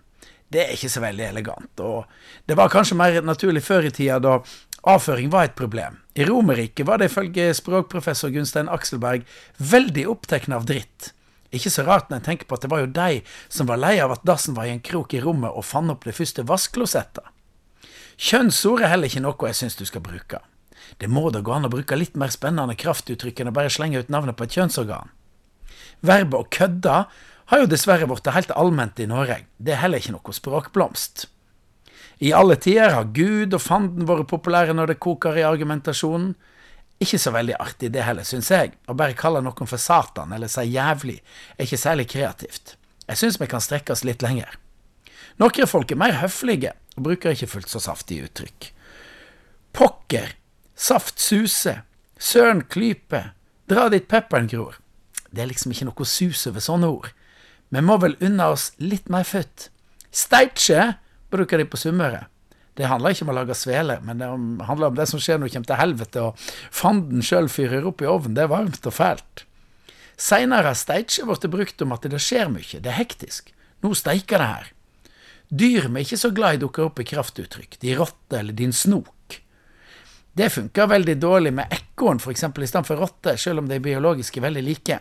E: Det er ikke så veldig elegant, og det var kanskje mer naturlig før i tida, da avføring var et problem. I Romerriket var det ifølge språkprofessor Gunstein Akselberg veldig opptatt av dritt. Ikke så rart når jeg tenker på at det var jo de som var lei av at dassen var i en krok i rommet og fant opp det første vaskeklossettet. Kjønnsord er heller ikke noe jeg syns du skal bruke. Det må da gå an å bruke litt mer spennende kraftuttrykk enn å bare slenge ut navnet på et kjønnsorgan. Verbet å kødde har jo dessverre blitt helt allment i Norge. Det er heller ikke noe språkblomst. I alle tider har Gud og fanden vært populære når det koker i argumentasjonen. Ikke så veldig artig det heller, syns jeg. Å bare kalle noen for Satan eller si jævlig er ikke særlig kreativt. Jeg syns vi kan strekke oss litt lenger. Noen folk er mer høflige og bruker ikke fullt så saftige uttrykk. Pokker, saft suse, søren klype, dra dit pepperen gror. Det er liksom ikke noe sus over sånne ord. Vi må vel unne oss litt mer futt. Steitje bruker de på Sunnmøre. Det handler ikke om å lage svele, men det om- handler om det som skjer når du kommer til helvete og fanden sjøl fyrer opp i ovnen. Det er varmt og fælt. Seinere har steitje blitt brukt om at det skjer mye, det er hektisk. Nå steiker det her. Dyr vi er ikke så glad i dukker opp i kraftuttrykk. De rotter eller din snok. Det funker veldig dårlig med ekorn for eksempel, i stedet for rotte, selv om de er biologisk veldig like.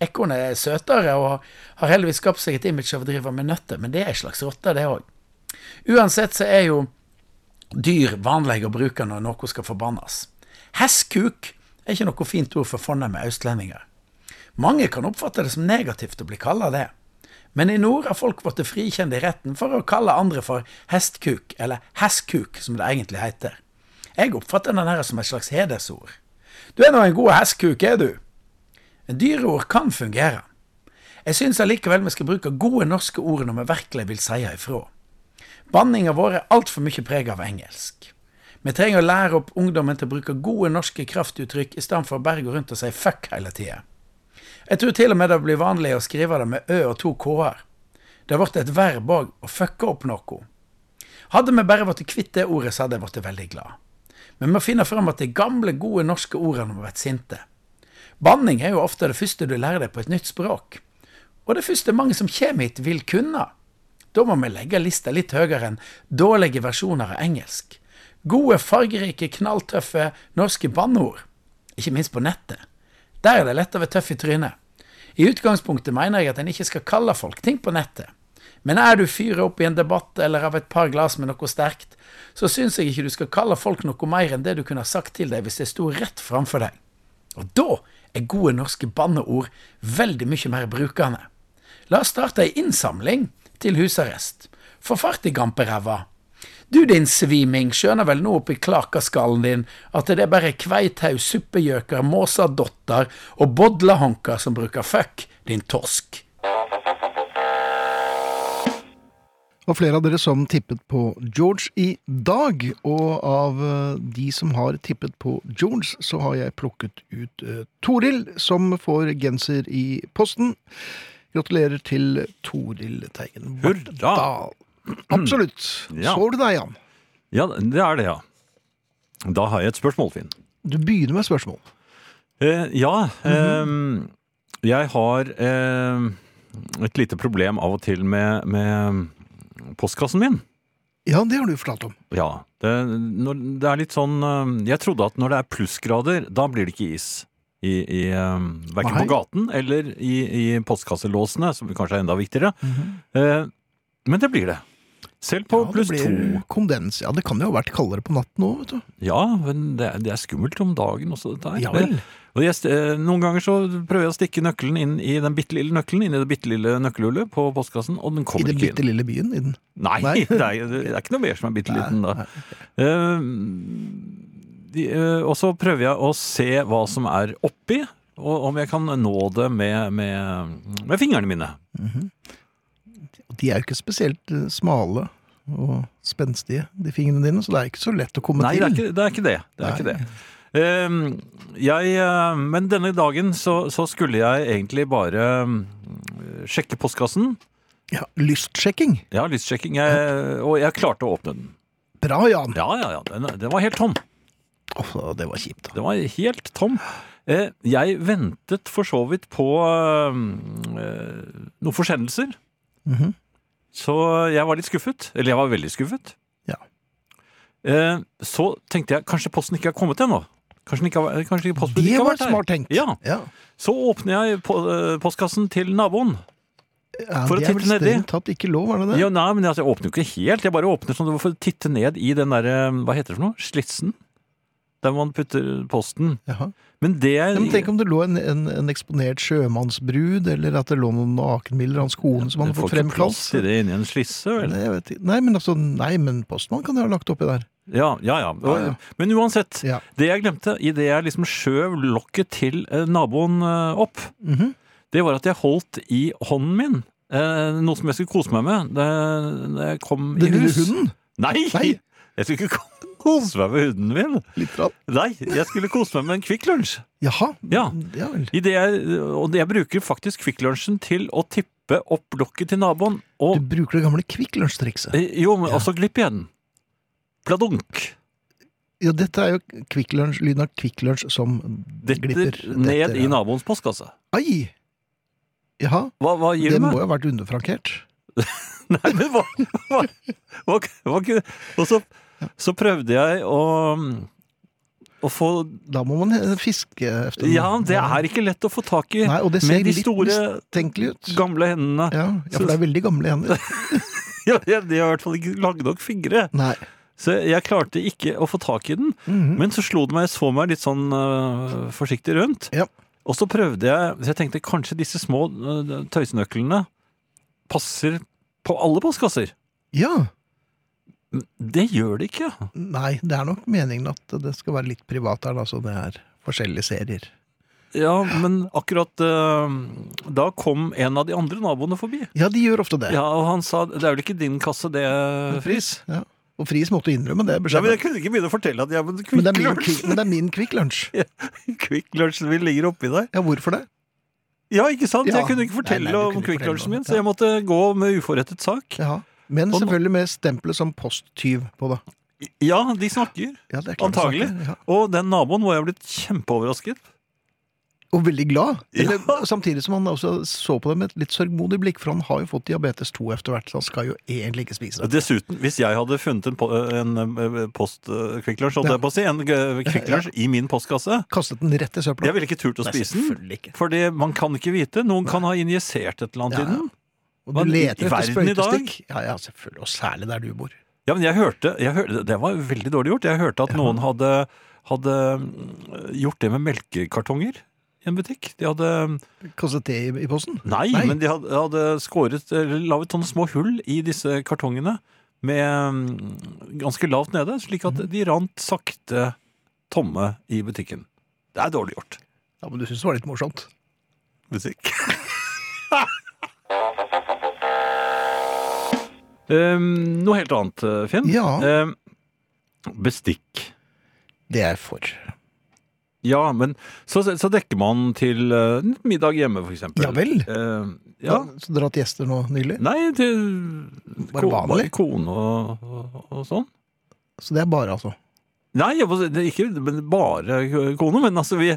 E: Ekorn er søtere og har heldigvis skapt seg et image av å drive med nøtter, men det er en slags rotte, det òg. Uansett så er jo dyr vanlige å bruke når noe skal forbannes. Hestkuk er ikke noe fint ord for fornemme østlendinger. Mange kan oppfatte det som negativt å bli kalla det. Men i nord har folk blitt frikjent i retten for å kalle andre for hestkuk, eller hestkuk, som det egentlig heter. Jeg oppfatter den her som et slags hedersord. Du er nå en god hestkuk, er du? Dyreord kan fungere. Jeg syns allikevel vi skal bruke gode norske ord når vi virkelig vil si ifra. Banninga vår er altfor mye preg av engelsk. Vi trenger å lære opp ungdommen til å bruke gode norske kraftuttrykk i stedet for å bare gå rundt og si fuck hele tida. Jeg tror til og med det blir vanlig å skrive det med ø og to k-er. Det har blitt et verb òg, å fucke opp noe. Hadde vi bare blitt kvitt det ordet, så hadde jeg blitt veldig glad. Men vi må finne fram at de gamle, gode norske ordene når vi blir sinte. Banning er jo ofte det første du lærer deg på et nytt språk. Og det første mange som kommer hit, vil kunne. Da må vi legge lista litt høyere enn dårlige versjoner av engelsk. Gode, fargerike, knalltøffe norske banneord. Ikke minst på nettet. Der er det lett å være tøff i trynet. I utgangspunktet mener jeg at en ikke skal kalle folk ting på nettet. Men er du fyret opp i en debatt eller av et par glass med noe sterkt, så syns jeg ikke du skal kalle folk noe mer enn det du kunne ha sagt til deg hvis det sto rett framfor deg. Og da er gode norske banneord veldig mye mer brukende. La oss starte ei innsamling til husarrest. Få fart i gamperæva. Du din sviming, skjønner vel nå oppi klakaskallen din at det er bare kveithaug, suppegjøker, måsadotter og bodlehonker som bruker fuck, din torsk.
B: Det var flere av dere som tippet på George i dag. Og av eh, de som har tippet på George, så har jeg plukket ut eh, Toril, som får genser i posten. Gratulerer til Toril Teigen.
C: Hurra! [clears throat]
B: Vartdal. Absolutt.
C: Ja.
B: Så du deg, Jan?
C: Ja, det er det, ja. Da har jeg et spørsmål, Finn.
B: Du begynner med spørsmål.
C: Eh, ja.
B: Mhm.
C: eh, jeg har eh, et lite problem av og til med, med postkassen min.
B: Ja, det har du fortalt om.
C: Ja. Det, når, det er litt sånn eh, Jeg trodde at når det er plussgrader, da blir det ikke is. I, i, eh, verken
B: Nei.
C: på gaten eller i, i postkasselåsene, som kanskje er enda viktigere. Eh, men det blir det. Selv på
B: Ja, det
C: pluss
B: blir
C: to.
B: Kondens. Ja, det kan jo ha vært kaldere på natten òg, vet du.
C: Ja, men det, er- det er skummelt om dagen også, dette her.
B: Ja vel.
C: Og jeg, st- eh, noen ganger så prøver jeg å stikke nøkkelen inn i den bitte lille nøkkelen, inn i det bitte lille nøkkelhullet på postkassen, og den
B: I
C: kommer
B: den
C: ikke
B: bitte
C: inn.
B: lille byen. I den.
C: Nei,
B: Nei.
C: [laughs] det, er, det er ikke noe mer som er bitte liten da. Eh, de, eh, og så prøver jeg å se hva som er oppi, og om jeg kan nå det med, med, med fingrene mine.
B: Og de er jo ikke spesielt eh, smale og spenstige, de fingrene dine, så det er ikke så lett å komme
C: Nei, det
B: til.
C: er ikke det. Er ikke det. det, er ikke
B: Nei.
C: det. Ehm, jeg, eh, men denne dagen så, så skulle jeg egentlig bare mm, sjekke postkassen.
B: Ja, lystsjekking.
C: Jeg har lystsjekking, jeg, og jeg klarte å åpne den.
B: Bra, Jan.
C: Ja, ja, ja, den, den var helt tom.
B: Åh, det var kjipt. da.
C: Den var helt tom. Eh, Jeg ventet for så vidt på eh, eh, noen forsendelser.
B: Mhm.
C: Så jeg var litt skuffet. Eller jeg var veldig skuffet.
B: Ja.
C: Eh, Så tenkte jeg kanskje posten ikke har kommet ennå. Kanskje, den ikke har, kanskje ikke postbudet
B: Det
C: ikke har
B: var
C: vært her.
B: smart tenkt.
C: Ja.
B: Ja.
C: Så åpner jeg po- eh, postkassen til naboen.
B: Ja,
C: For å
B: det er
C: titte
B: vel
C: nedi.
B: strengt tatt ikke lov, er det det?
C: Ja, nei, men altså, jeg åpner jo ikke helt. Jeg bare åpner sånn at du får titte ned i den der, eh, hva heter det for noe? Slitsen? Der man putter posten.
B: Jaha.
C: Men det
B: Ja,
C: er
B: Men tenk om det lå en, en, en eksponert sjømannsbrud, eller at det lå noen nakenbilder av hans kone som han
C: Du
B: hadde
C: får
B: fått
C: ikke plass
B: fremkalt.
C: til det inni en slisse, vel?
B: Nei, jeg vet ikke. Nei, men altså, nei, men postmann kan jeg ha lagt oppi der.
C: Ja, ja, ja.
B: Ja, ja.
C: Men uansett,
B: Ja.
C: det jeg glemte idet jeg liksom skjøv lokket til eh, naboen eh, opp,
B: Mhm.
C: det var at jeg holdt i hånden min eh, noe som jeg skulle kose meg med da da jeg kom i
B: Den lille
C: hus.
B: hunden?
C: Nei!
B: Nei.
C: Jeg skulle ikke [laughs] ko- kose meg med hunden min.
B: Litt rann.
C: Nei, jeg skulle kose meg med en Kvikk Lunsj.
B: Jaha.
C: Ja.
B: ja vel.
C: I det jeg, og det jeg bruker faktisk Kvikk Lunsjen til å tippe opp lokket til naboen.
B: Du
C: Og
B: bruker det gamle Kvikk Lunsj-trikset.
C: eh, jo, men
B: Ja.
C: også glipp igjen. Pladunk.
B: Ja, dette er jo Kvikk Lunsj, lyden av Kvikk Lunsj som
C: Detter
B: glipper.
C: ned
B: Detter,
C: i
B: ja.
C: naboens postkasse.
B: Ai! Jaha.
C: Hva, hva gir
B: Det
C: du meg?
B: må jo ha vært underfrankert.
C: [laughs] Nei, men hva, hva, hva, hva kunne Og så, så prøvde jeg å å få
B: Da må man eh, fiske efter den.
C: Ja, det er ikke lett å få tak i
B: Nei, og det ser
C: med de
B: litt
C: store,
B: mistenkelig ut.
C: gamle hendene.
B: Ja, ja, for det er veldig gamle hender.
C: [laughs] Ja, de har i hvert fall ikke lagd nok fingre.
B: Nei.
C: Så jeg klarte ikke å få tak i den.
B: Mhm.
C: Men så slo det meg, jeg så meg litt sånn øh, forsiktig rundt.
B: Ja.
C: Og så prøvde jeg Så jeg tenkte kanskje disse små øh, tøysenøklene passer på alle postkasser.
B: Ja.
C: Det gjør de ikke.
B: Nei, det er nok meningen at det skal være litt privat her, da, så det er forskjellige serier.
C: Ja, men akkurat eh, da kom en av de andre naboene forbi.
B: Ja, de gjør ofte det.
C: Ja, og han sa det er vel ikke din kasse, det, Friis.
B: Ja. Og Friis måtte innrømme det.
C: Ja, men
B: beskjeden.
C: jeg kunne ikke begynne å fortelle at ja, men
B: men, det
C: Kvikk
B: er min,
C: Lunsj
B: kvikk- men det er min Kvikk Lunsj.
C: [laughs] Kvikk Lunsjen min ligger oppi der.
B: Ja, hvorfor det?
C: Ja, ikke sant?
B: Ja.
C: Jeg kunne ikke fortelle
B: Nei, nei, du kunne
C: om
B: ikke
C: Kvikk
B: fortelle
C: Lunsjen
B: noe.
C: min, så jeg måtte gå med uforrettet sak.
B: Ja. Men
C: Og nå-
B: selvfølgelig med stempelet som posttyv på det.
C: Ja, de snakker.
B: Ja, det er klart
C: Antagelig.
B: det er sant, Ja.
C: Og den naboen må jeg ha blitt kjempeoverrasket.
B: Og veldig glad. Eller,
C: Ja. [laughs]
B: Samtidig som han også så på det med et litt sørgmodig blikk, for han har jo fått diabetes 2 etter hvert, så han skal jo egentlig ikke spise det.
C: Dessuten, hvis jeg hadde funnet en, po- en eh, post eh, Kvikk Lunsj, holdt
B: Ja.
C: jeg på å si, en eh, Kvikk Lunsj i min postkasse,
B: Kastet den rett i søpla.
C: jeg ville ikke turt å
B: Nei,
C: spise den.
B: selvfølgelig ikke.
C: Fordi man kan ikke vite. Noen kan ha injisert et eller annet
B: Ja,
C: i den.
B: Og
C: Hva,
B: du
C: i- i
B: leter etter
C: verden i dag?
B: sprøytestikk. Ja, ja, selvfølgelig. Og særlig der du bor.
C: Ja, men jeg hørte, jeg hørte Det var veldig dårlig gjort. Jeg hørte at noen hadde, hadde mm, gjort det med melkekartonger i en butikk. De hadde
B: Kastet det i, i posten?
C: Nei,
B: Nei.
C: men de hadde, hadde skåret Eller laget sånne små hull i disse kartongene med mm, ganske lavt nede, slik at de rant sakte tomme i butikken. Det er dårlig gjort.
B: Ja, men du syns det var litt morsomt?
C: musikk. um, noe helt annet, Finn.
B: Ja.
C: Um, bestikk.
B: Det er jeg for.
C: Ja, men så, så dekker man til uh, middag hjemme, for eksempel.
B: Ja vel.
C: Um,
B: Ja.
C: ja.
B: Så dere har hatt gjester nå nylig?
C: Nei, til
B: Bare
C: ko-
B: vanlig?
C: kone og, og, og sånn.
B: Så det er bare, altså?
C: Nei, jeg, må si- det er ikke men bare kone, men altså vi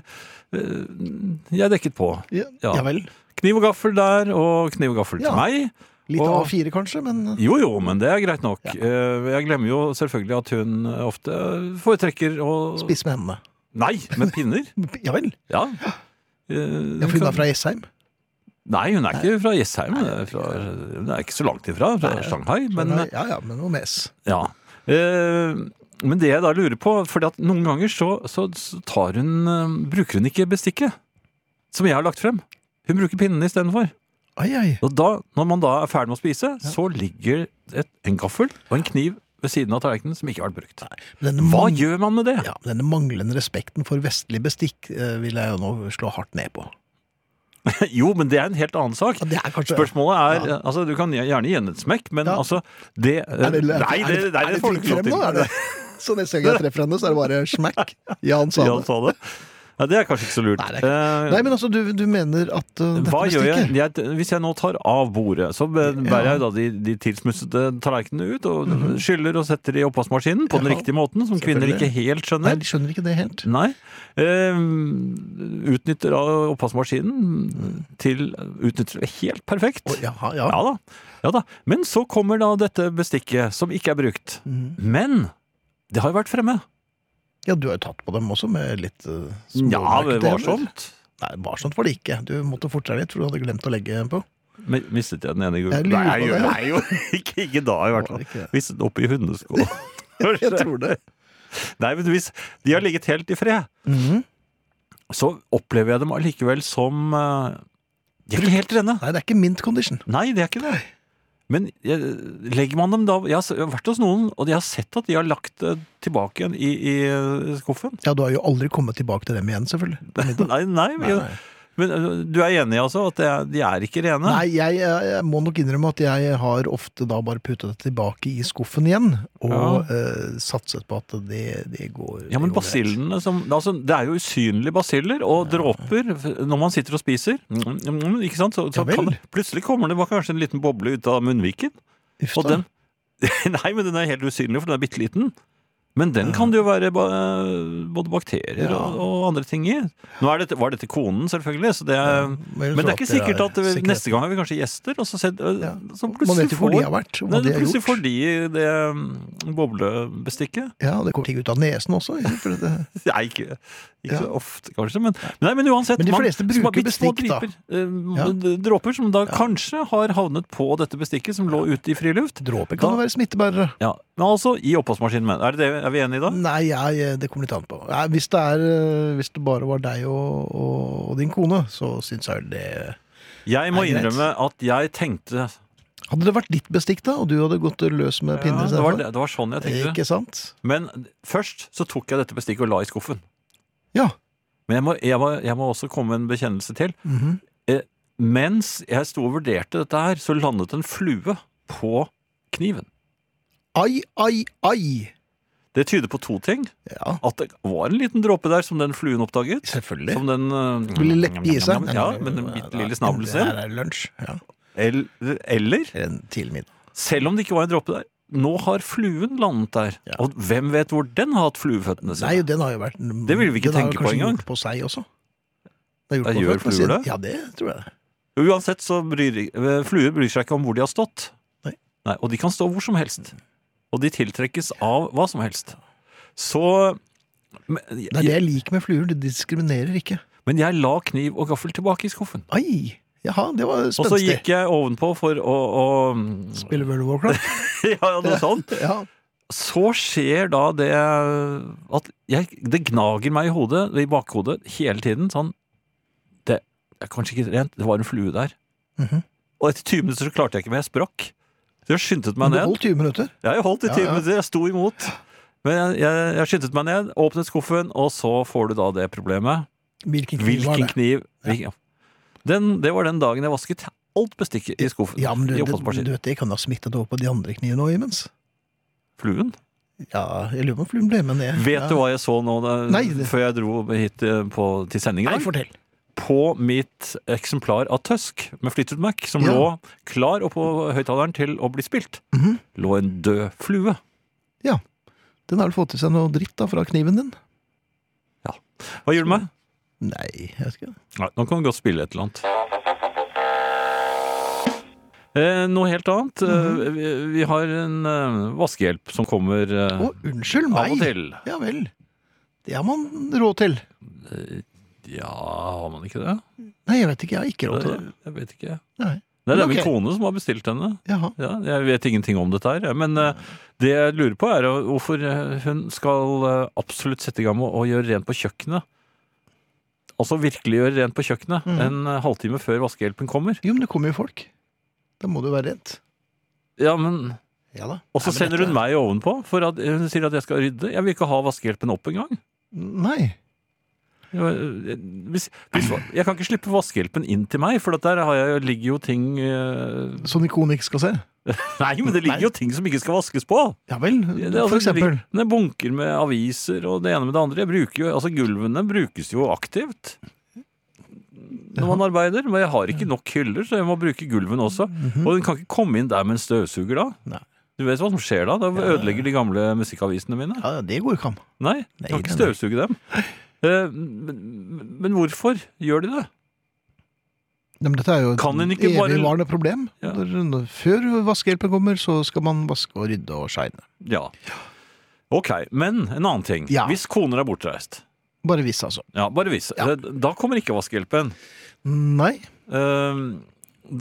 C: uh, Jeg dekket på.
B: Ja,
C: Ja.
B: ja vel.
C: Kniv og gaffel der, og kniv og gaffel
B: Ja.
C: til meg.
B: Litt
C: Og-
B: A4 kanskje, men
C: Jo, jo, men det er greit nok.
B: Ja.
C: Eh, Jeg glemmer jo selvfølgelig at hun ofte foretrekker å
B: spiss med hendene.
C: Nei, med pinner.
B: Ja vel.
C: Ja.
B: Ja, for hun er fra Jessheim.
C: Nei, hun er ikke fra Jessheim. Hun er, fra, hun er ikke så langt ifra, fra
B: Nei.
C: Shanghai. Men,
B: ja, ja, men noe med S.
C: ja. Eh, men det jeg da lurer på fordi at noen ganger så, så så tar hun eh, Bruker hun ikke bestikket som jeg har lagt frem. Hun bruker pinnene istedenfor.
B: Ai, ai.
C: Og da, når man da er ferdig med å spise, så ligger et, en gaffel og en kniv ved siden av tallerkenen som ikke har vært brukt.
B: Men Denne,
C: Hva
B: man-
C: gjør man med det?
B: ja, men denne manglende respekten for vestlig bestikk eh, vil jeg jo nå slå hardt ned på.
C: [laughs] Jo, men det er en helt annen sak.
B: Ja, det er kanskje
C: Spørsmålet er altså, Du kan gjerne gi henne et smekk, men
B: Ja.
C: altså det,
B: er det, er,
C: Nei, det,
B: er
C: nei,
B: er
C: det
B: det [laughs]
C: får du
B: fritt
C: ikke lov
B: frem nå?
C: til.
B: Er det? Så neste gang jeg treffer henne, så er det bare smack. Jan sa
C: Ja, han
B: det.
C: sa det. Ja, det er kanskje ikke så lurt.
B: Nei, det er
C: Eh,
B: Nei, men altså, du, du mener at uh, dette
C: Hva
B: med
C: gjør jeg?
B: strikket
C: jeg? Hvis jeg nå tar av bordet, så bæ- bærer jeg jo da de, de tilsmussede tallerkenene ut og skyller og setter de i oppvaskmaskinen på den
B: Mhm. Ja,
C: riktige måten, som kvinner
B: selvfølgelig.
C: ikke helt
B: Nei,
C: skjønner.
B: de skjønner ikke det helt.
C: Nei. Eh, utnytter da oppvaskmaskinen til Utnytter det helt perfekt.
B: Mm. Å, jaha, ja.
C: Ja da. ja da. Men så kommer da dette bestikket, som ikke er brukt.
B: Mhm.
C: Men det har jo vært fremme.
B: ja, du har jo tatt på dem også med litt uh,
C: Ja,
B: småmerker til, eller?
C: varsomt.
B: Nei, varsomt var det ikke. Du måtte forte deg litt, for du hadde glemt å legge på.
C: Men mistet jeg den ene i går?
B: Jeg lurer
C: Nei,
B: på
C: jeg gjør-
B: det.
C: nei, jo [laughs] ikke, ikke da, i hvert fall.
B: Ikke-
C: Hvis oppi hundesko
B: [laughs] Jeg tror det.
C: Nei, men hvis de har ligget helt i fred,
B: Mhm.
C: så opplever jeg dem allikevel som eh, De er ikke helt rene.
B: Nei, det er ikke mint condition.
C: Nei, det er ikke det. Men eh, legger man dem da Jeg har s- jeg har vært hos noen, og jeg har sett at de har lagt det tilbake igjen i, i eh,
B: [laughs]
C: skuffen.
B: Ja, du har jo aldri kommet tilbake til dem igjen, selvfølgelig.
C: Nei, nei,
B: Nei, nei.
C: Men eh, du er enig, altså? At det er, de er ikke rene?
B: Nei, jeg, jeg må nok innrømme at jeg har ofte da bare puttet det tilbake i skuffen igjen, og eh, satset på at det, det går
C: Ja, men
B: det går greit.
C: basillene som altså, Det er jo usynlige basiller og dråper f- når man sitter og spiser. Mm, mm, mm, Ikke sant? Så, så
B: Ja vel.
C: kan det, plutselig kommer det bare kanskje en liten boble ut av munnviken.
B: Uff
C: Og
B: da.
C: den [laughs] Nei, men den er helt usynlig, for den er bitte liten. Men den kan det jo være ba- både bakterier
B: Ja.
C: og, og andre ting i. Nå er dette, var dette konen, selvfølgelig, så det er,
B: jeg
C: eh, men det
B: tror
C: er ikke
B: det
C: sikkert at
B: sikkerhet.
C: neste gang har vi kanskje gjester, og så, sett,
B: Ja.
C: så
B: Man
C: plutselig
B: vet jo hvor de har
C: får
B: vært, og
C: Nei,
B: hva de har
C: plutselig
B: gjort.
C: får de det mm, boblebestikket.
B: Ja, det kommer ting ut av nesen også. For det,
C: [laughs] Nei, ikke, ikke
B: Ja.
C: så ofte, kanskje. Men, men, nei, men uansett.
B: Men de
C: man-
B: fleste
C: små-
B: bruker
C: bitte små
B: bestikk, da.
C: dryper, eh,
B: Ja.
C: d- Dråper som da
B: Ja.
C: kanskje har havnet på dette bestikket som lå ute i friluft.
B: dråper kan
C: Da-
B: jo være smittebærere.
C: Ja, men altså i oppvaskmaskinen. men Er, det det, er vi enige da?
B: Nei, jeg, det kommer litt an på. Nei, hvis, det er, eh, hvis det bare var deg og, og, og din kone, så syns jeg det
C: Jeg må
B: Nei, greit.
C: innrømme at jeg tenkte
B: Hadde det vært ditt bestikk, da, og du hadde gått løs med
C: ja,
B: pinner
C: det, var,
B: istedenfor?
C: det var sånn jeg tenkte.
B: Ikke sant?
C: Men først så tok jeg dette bestikket og la i skuffen.
B: Ja.
C: Men jeg må, jeg må, jeg må også komme med en bekjennelse til.
B: Mhm.
C: Mens jeg sto og vurderte dette her, så landet en flue på kniven.
B: Ai, ai, ai!
C: Det tyder på to ting.
B: Ja,
C: at det var en liten dråpe der som den fluen oppdaget.
B: selvfølgelig.
C: Som den eh,
B: Ville lekke i seg.
C: Ja, med den bitte lille snabelen
B: Det
C: sin.
B: her er lunsj. Ja.
C: Eller, eller,
B: En tidlig middag.
C: selv om det ikke var en dråpe der, nå har fluen landet der.
B: Ja.
C: Og hvem vet hvor den har hatt flueføttene
B: Nei,
C: sine?
B: den har jo vært
C: Det ville vi
B: den
C: ikke
B: har jo
C: tenke på
B: kanskje
C: engang.
B: gjort På seg også. Den
C: Da
B: har
C: gjør
B: gjort på føttene
C: fluer
B: sine.
C: det?
B: Ja, det tror jeg.
C: Uansett så bryr eh, fluer bryr seg ikke om hvor de har stått.
B: Nei.
C: og de kan stå hvor som helst. Og de tiltrekkes av hva som helst. Så men,
B: Det er det jeg liker med fluer. De diskriminerer ikke.
C: men jeg la kniv og gaffel tilbake i skuffen.
B: Ai! Jaha, det var
C: Og så
B: spenstig.
C: gikk jeg ovenpå for å, mm, å
B: Spiller World of
C: [laughs]
B: Warcraft.
C: Ja, noe sånt.
B: [laughs] Ja.
C: så skjer da det at jeg, det gnager meg i hodet, i bakhodet, hele tiden. Sånn Det er kanskje ikke rent, det var en flue der.
B: Mhm.
C: Og etter 20 minutter så klarte jeg ikke mer, jeg sprakk. Så jeg skyndte
B: Men
C: meg
B: det
C: ned.
B: holdt 20 minutter.
C: Ja, Jeg holdt i
B: Ja,
C: 20
B: ja.
C: minutter, jeg sto imot. Men jeg, jeg, jeg skyndte meg ned, åpnet skuffen, og så får du da det problemet.
B: Hvilken kniv var
C: Hvilken
B: det?
C: kniv hvilken- Den, Det var den dagen jeg vasket alt bestikket i skuffen.
B: Ja, men du,
C: i
B: det,
C: oppvaskmaskinen.
B: du vet, det kan ha smittet over på de andre knivene òg imens.
C: Fluen.
B: Ja, jeg lurer på om fluen ble med ned.
C: Vet
B: ja.
C: du hva jeg så nå da,
B: Nei, det-
C: før jeg dro hit eh, på, til sending? i
B: Nei,
C: dag?
B: fortell.
C: på mitt eksemplar av Tusk med Flyttet Mac, som
B: Ja.
C: lå klar oppå høyttaleren til å bli spilt,
B: Mhm.
C: lå en død flue.
B: Den har vel fått i seg noe dritt da fra kniven din?
C: Hva gjør du med?
B: Nei, jeg vet ikke.
C: Nei, nå kan du godt spille et eller annet. Eh, noe helt annet.
B: Mhm.
C: Eh, vi, vi har en eh, vaskehjelp som kommer eh,
B: Å, unnskyld
C: av og
B: meg!
C: til.
B: Ja vel. Det har man råd til.
C: Ja, har man ikke det?
B: Nei, jeg vet ikke. Jeg har ikke råd til det.
C: Jeg, jeg vet ikke.
B: Nei.
C: Nei, det er
B: Men
C: min
B: ok.
C: kone som har bestilt henne.
B: Jaha.
C: Ja, jeg vet ingenting om dette her, jeg, men eh, det jeg lurer på er eh, hvorfor eh, hun skal eh, absolutt sette i gang med å gjøre rent på kjøkkenet. Altså virkelig gjøre rent på kjøkkenet
B: Mhm.
C: en eh, halvtime før vaskehjelpen kommer.
B: Jo, men det kommer jo folk. Da må du være rent.
C: Ja, men...
B: Ja da.
C: Og så sender hun meg ovenpå, for at hun sier at jeg skal rydde. Jeg vil ikke ha vaskehjelpen opp engang.
B: Nei.
C: eh, Hvis, hvis, jeg kan ikke slippe vaskehjelpen inn til meg, for at der har jeg, ligger jo ting eh,
B: Sånn ikon ikke skal se.
C: Nei, men det ligger jo ting som ikke skal vaskes på!
B: Ja vel,
C: Det, det,
B: for
C: altså, det
B: eksempel.
C: ligger- det er bunker med aviser og det ene med det andre. Jeg bruker jo, altså Gulvene brukes jo aktivt når man arbeider. Men jeg har ikke nok hyller, så jeg må bruke gulven også. Og den kan ikke komme inn der med en støvsuger da.
B: Mhm. Nei.
C: Du vet hva som skjer da? Da ødelegger de gamle musikkavisene mine.
B: Ja, det går ikke an.
C: Nei, jeg kan
B: Nei, nei,
C: ikke
B: nei.
C: støvsuge dem. Eh, Men, men hvorfor gjør de det?
B: Ja, men dette er jo et
C: Kan en ikke bare-
B: evigvarende problem.
C: Ja.
B: Når, når, før vaskehjelpen kommer, så skal man vaske og rydde og shine.
C: Ja. Ok, men en annen ting.
B: Ja.
C: Hvis koner er bortreist,
B: Bare hvis, altså.
C: ja, bare hvis,
B: Ja.
C: eh, da kommer ikke vaskehjelpen.
B: Nei,
C: Eh,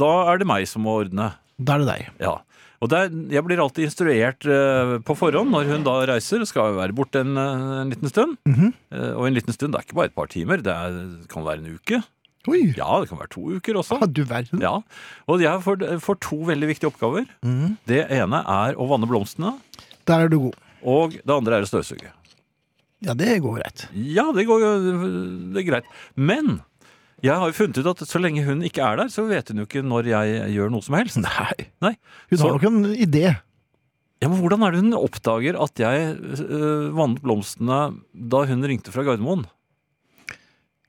C: Da er det meg som må ordne.
B: da er det deg.
C: Ja. Og der, jeg blir alltid instruert eh, på forhånd når hun da reiser. Skal jo være borte en, eh, en liten stund.
B: Mhm.
C: Eh, og en liten stund det er ikke bare et par timer. Det er, kan være en uke.
B: Oi!
C: Ja, det kan være to uker også.
B: Ja, du verden.
C: Ja. Og jeg får, får to veldig viktige oppgaver.
B: Mhm.
C: Det ene er å vanne blomstene.
B: Der er du god.
C: Og det andre er å støvsuge.
B: Ja, det går greit.
C: Ja, det går jo det er greit. Men jeg har jo funnet ut at så lenge hun ikke er der, så vet hun jo ikke når jeg gjør noe som helst.
B: Nei.
C: Nei.
B: Hun
C: Så-
B: har nok en idé.
C: Ja, men Hvordan er det hun oppdager at jeg øh, vannet blomstene da hun ringte fra Gardermoen?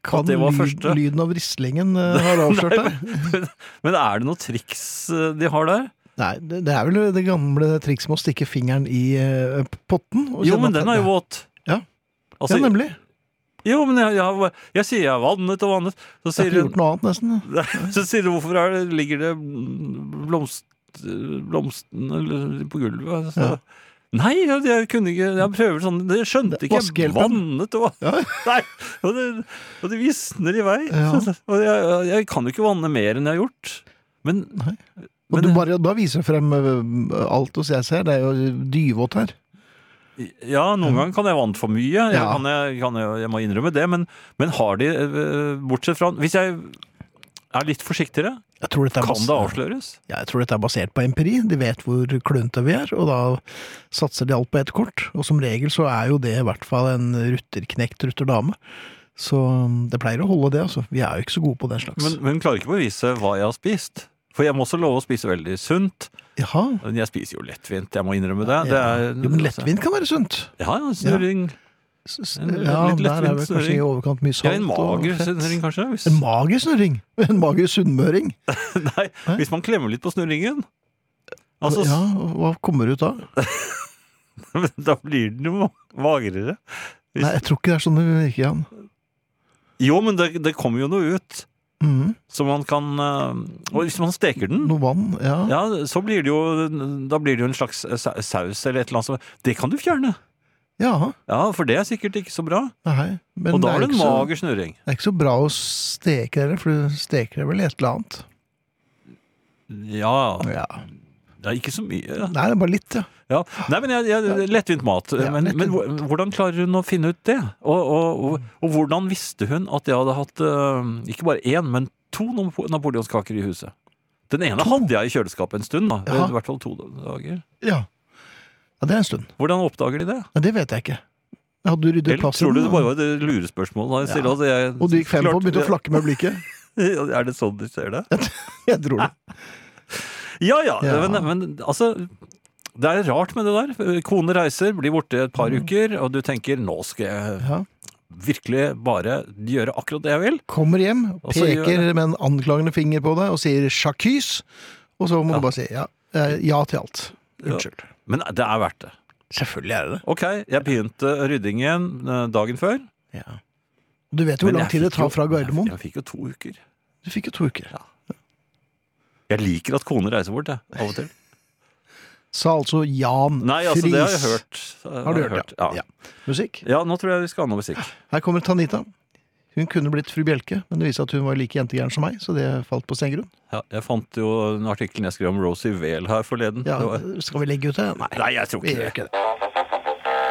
B: Kan
C: det var
B: lyd-
C: første.
B: lyden av vrislingen
C: [laughs]
B: eh, har avslørt deg?
C: Men er det noe triks øh, de har der?
B: Nei, det, det er vel det gamle trikset med å stikke fingeren i eh, potten. og
C: Jo,
B: kjenne
C: men
B: at
C: den er jo
B: det-
C: våt.
B: Ja.
C: Altså,
B: ja, nemlig.
C: jo, men jeg, jeg, har- jeg sier jeg har vannet og vannet. Så
B: Jeg har
C: sier
B: ikke
C: hun
B: gjort noe annet, nesten.
C: Nei, Så sier du hvorfor er det, ligger det blomst, blomstene eller på gulvet? Så,
B: Ja.
C: Nei, jeg, jeg kunne ikke Jeg prøver sånn Jeg skjønte ikke. Jeg
B: Vaskehjelpen.
C: vannet og
B: Ja.
C: Nei! Og det, og det visner i vei.
B: Ja.
C: Og jeg, jeg kan jo ikke vanne mer enn jeg har gjort. Men,
B: Nei. Og
C: men
B: du bare, da viser du frem eh, alt hos jeg ser. Det er jo dyvått her.
C: Ja, noen ganger kan jeg vanne for mye. Jeg,
B: Ja.
C: kan, jeg, kan, jeg, jeg må innrømme det. Men, men har de eh, Bortsett fra Hvis jeg er litt forsiktigere,
B: Jeg tror dette er
C: kan
B: bas-
C: det avsløres?
B: Ja, jeg tror dette er basert på empiri. De vet hvor klønete vi er, og da satser de alt på ett kort. Og som regel så er jo det i hvert fall en rutterknekt rutterdame. Så um, det pleier å holde det, altså. Vi er jo ikke så gode på den slags.
C: Men, men hun klarer ikke å bevise hva jeg har spist. For jeg må også love å spise veldig sunt.
B: Jaha.
C: Men jeg spiser jo lettvint, jeg må innrømme det. det er, altså-
B: Ja. Jo, men lettvint kan være sunt.
C: Ja, ja, snurring.
B: S- s-
C: En-
B: Ja,
C: litt
B: der er
C: lettvint
B: vel kanskje
C: snurring.
B: i overkant mye
C: Ja,
B: salt
C: en
B: og
C: mager
B: fett.
C: snurring, kanskje. Hvis,
B: En mager snurring? [laughs] En mager sunnmøring?
C: nei, hvis man klemmer litt på snurringen. Altså,
B: ja, hva kommer ut da?
C: [laughs] Da blir den jo magrere. hvis-
B: Nei, jeg tror ikke det er sånn det virker, Jan.
C: Jo, men det, det kommer jo noe ut.
B: Mhm.
C: Så man kan eh, Og hvis man steker den
B: Noe vann, ja.
C: ja, så blir det jo Da blir det jo en slags sa- saus eller et eller annet som Det kan du fjerne!
B: Ja,
C: Ja, for det er sikkert ikke så bra.
B: nei. Men
C: og
B: det
C: da er
B: er
C: det en
B: ikke så-
C: mager snurring.
B: Det er ikke så bra å steke det, for du steker det vel i et eller annet.
C: Ja,
B: Ja.
C: ja ikke så mye.
B: Nei, det er bare litt, ja.
C: Ja. Nei, men jeg, jeg, lettvint mat.
B: Ja,
C: men,
B: lettvint Mm.
C: men hvor- hvordan klarer hun å finne ut det? Og, og, og, og hvordan visste hun at jeg hadde hatt eh, ikke bare én, men to napo- napoleonskaker i huset? Den ene hadde jeg i kjøleskapet en stund, da.
B: Jaha.
C: i hvert fall to dager.
B: Ja, ja det er en stund.
C: Hvordan oppdager de det?
B: Nei, det vet jeg ikke. Hadde du ryddet
C: Eller tror
B: plassen?
C: du det bare var et lurespørsmål? da jeg stiller?
B: Ja.
C: Altså, jeg,
B: Og du gikk feil på og begynte å
C: [laughs] klarte-
B: flakke med blikket?
C: Er det sånn de ser det?
B: Jeg tror det.
C: Ja, ja,
B: Ja.
C: Men, men altså Det er rart med det der. Kone reiser, blir borte et par uker, og du tenker 'nå skal jeg
B: Mm. Ja.
C: virkelig bare gjøre akkurat det jeg vil'.
B: [laughs] Kommer hjem,
C: Og så gjør
B: peker med en anklagende finger på deg og sier 'sjakkys', og så må
C: Ja.
B: du bare si ja, eh, ja til alt. Unnskyld.
C: Men det er verdt det.
B: Selvfølgelig er det det.
C: Ok, jeg begynte ryddingen eh, dagen før.
B: Ja. Du vet jo hvor
C: men
B: lang
C: jeg
B: tid det
C: fikk
B: tar
C: jo-
B: fra Gardermoen.
C: Jeg, jeg fikk jo to uker.
B: Du fikk jo to uker.
C: Jeg liker at kone reiser bort, jeg, av og til.
B: Sa altså Jan
C: Nei, altså, det har jeg
B: Friis.
C: hørt. Eh,
B: Har du hørt, ja.
C: Ja.
B: ja. Musikk?
C: ja, nå tror jeg vi skal ha noe musikk.
B: Her kommer Tanita. Hun kunne blitt fru Bjelke, men det viste at hun var like jentegæren som meg, så det falt på stengrunn.
C: Ja, jeg fant jo en artikkel jeg skrev om Rosie Vail her forleden.
B: Ja,
C: Det var-
B: skal vi legge ut det? Nei,
C: Nei, jeg tror
B: vi
C: ikke
B: gjør
C: det.
B: ikke det.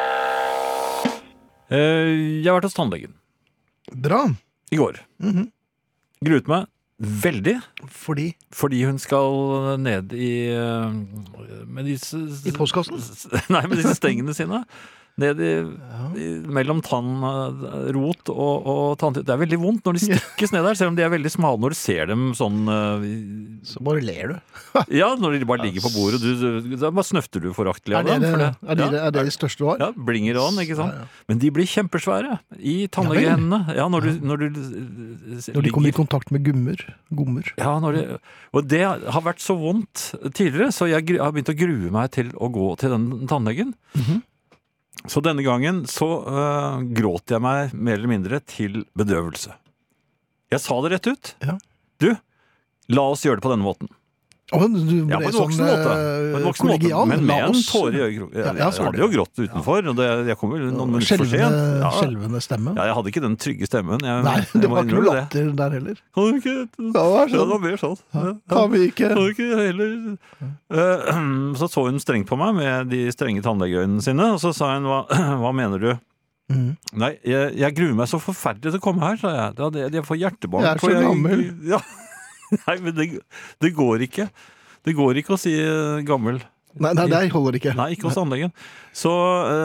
C: Eh, Jeg har vært hos tannlegen
B: Bra,
C: i går.
B: Mhm.
C: Gruet meg veldig,
B: fordi
C: fordi hun skal ned i eh, Med disse
B: I postkassen?
C: [laughs] Nei, med disse stengene sine. ned i, i, mellom tannrot og, og tanntitt. Det er veldig vondt når de stikkes ned der, selv om de er veldig smale når du ser dem sånn eh,
B: Så bare ler du.
C: i- Ja, når de bare ligger på bordet. Du, du, da bare snøfter du foraktelig
B: Er
C: av
B: det
C: dem.
B: det,
C: for det-
B: er det,
C: ja.
B: er det de største du har?
C: Ja, blinger og an, ikke sant?
B: Ja,
C: Men de blir kjempesvære i tannlegehendene. Ja, når du, når du eh,
B: Når de kommer i
C: ligger-
B: kontakt med gummer. Gommer.
C: ja, når de, og det har vært så vondt tidligere, så jeg gru- har begynt å grue meg til å gå til den tannlegen.
B: Mhm.
C: Så denne gangen så eh, gråt jeg meg mer eller mindre til bedøvelse. Jeg sa det rett ut.
B: Ja.
C: Du, la oss gjøre det på denne måten.
B: Å, du
C: Ja, på
B: ble
C: en
B: sånn
C: voksen måte. På en
B: eh,
C: voksen måte.
B: kollegial.
C: Men med
B: La
C: en
B: oss-
C: tåre i øyekroken.
B: Ja,
C: Jeg, jeg,
B: ja, så var
C: hadde
B: det.
C: jo grått utenfor, og det, jeg kom vel noen minutter for sent.
B: Skjelvende,
C: Ja.
B: skjelvende stemme.
C: Ja, jeg hadde ikke den trygge stemmen. Jeg,
B: Nei, det
C: jeg må
B: var ikke noe
C: innrømme
B: latter der heller.
C: Kan du ikke
B: Ja, det var
C: Ja, det
B: sånn.
C: var mer sånn. Ja, ja.
B: Kan vi ikke
C: Kan du ikke heller Eh, [clears throat] Så så hun strengt på meg med de strenge tannlegeøynene sine, og så sa hun hva, [clears throat] hva mener du?
B: Mhm.
C: Nei, jeg, jeg gruer meg så forferdelig til å komme her, sa jeg. Da- det- Jeg får hjertebank.
B: Jeg er så
C: og
B: gammel.
C: [laughs] Ja. Nei, men det, det går ikke. Det går ikke å si eh, gammel.
B: Nei, nei, det holder ikke.
C: Nei, ikke hos tannlegen. Så,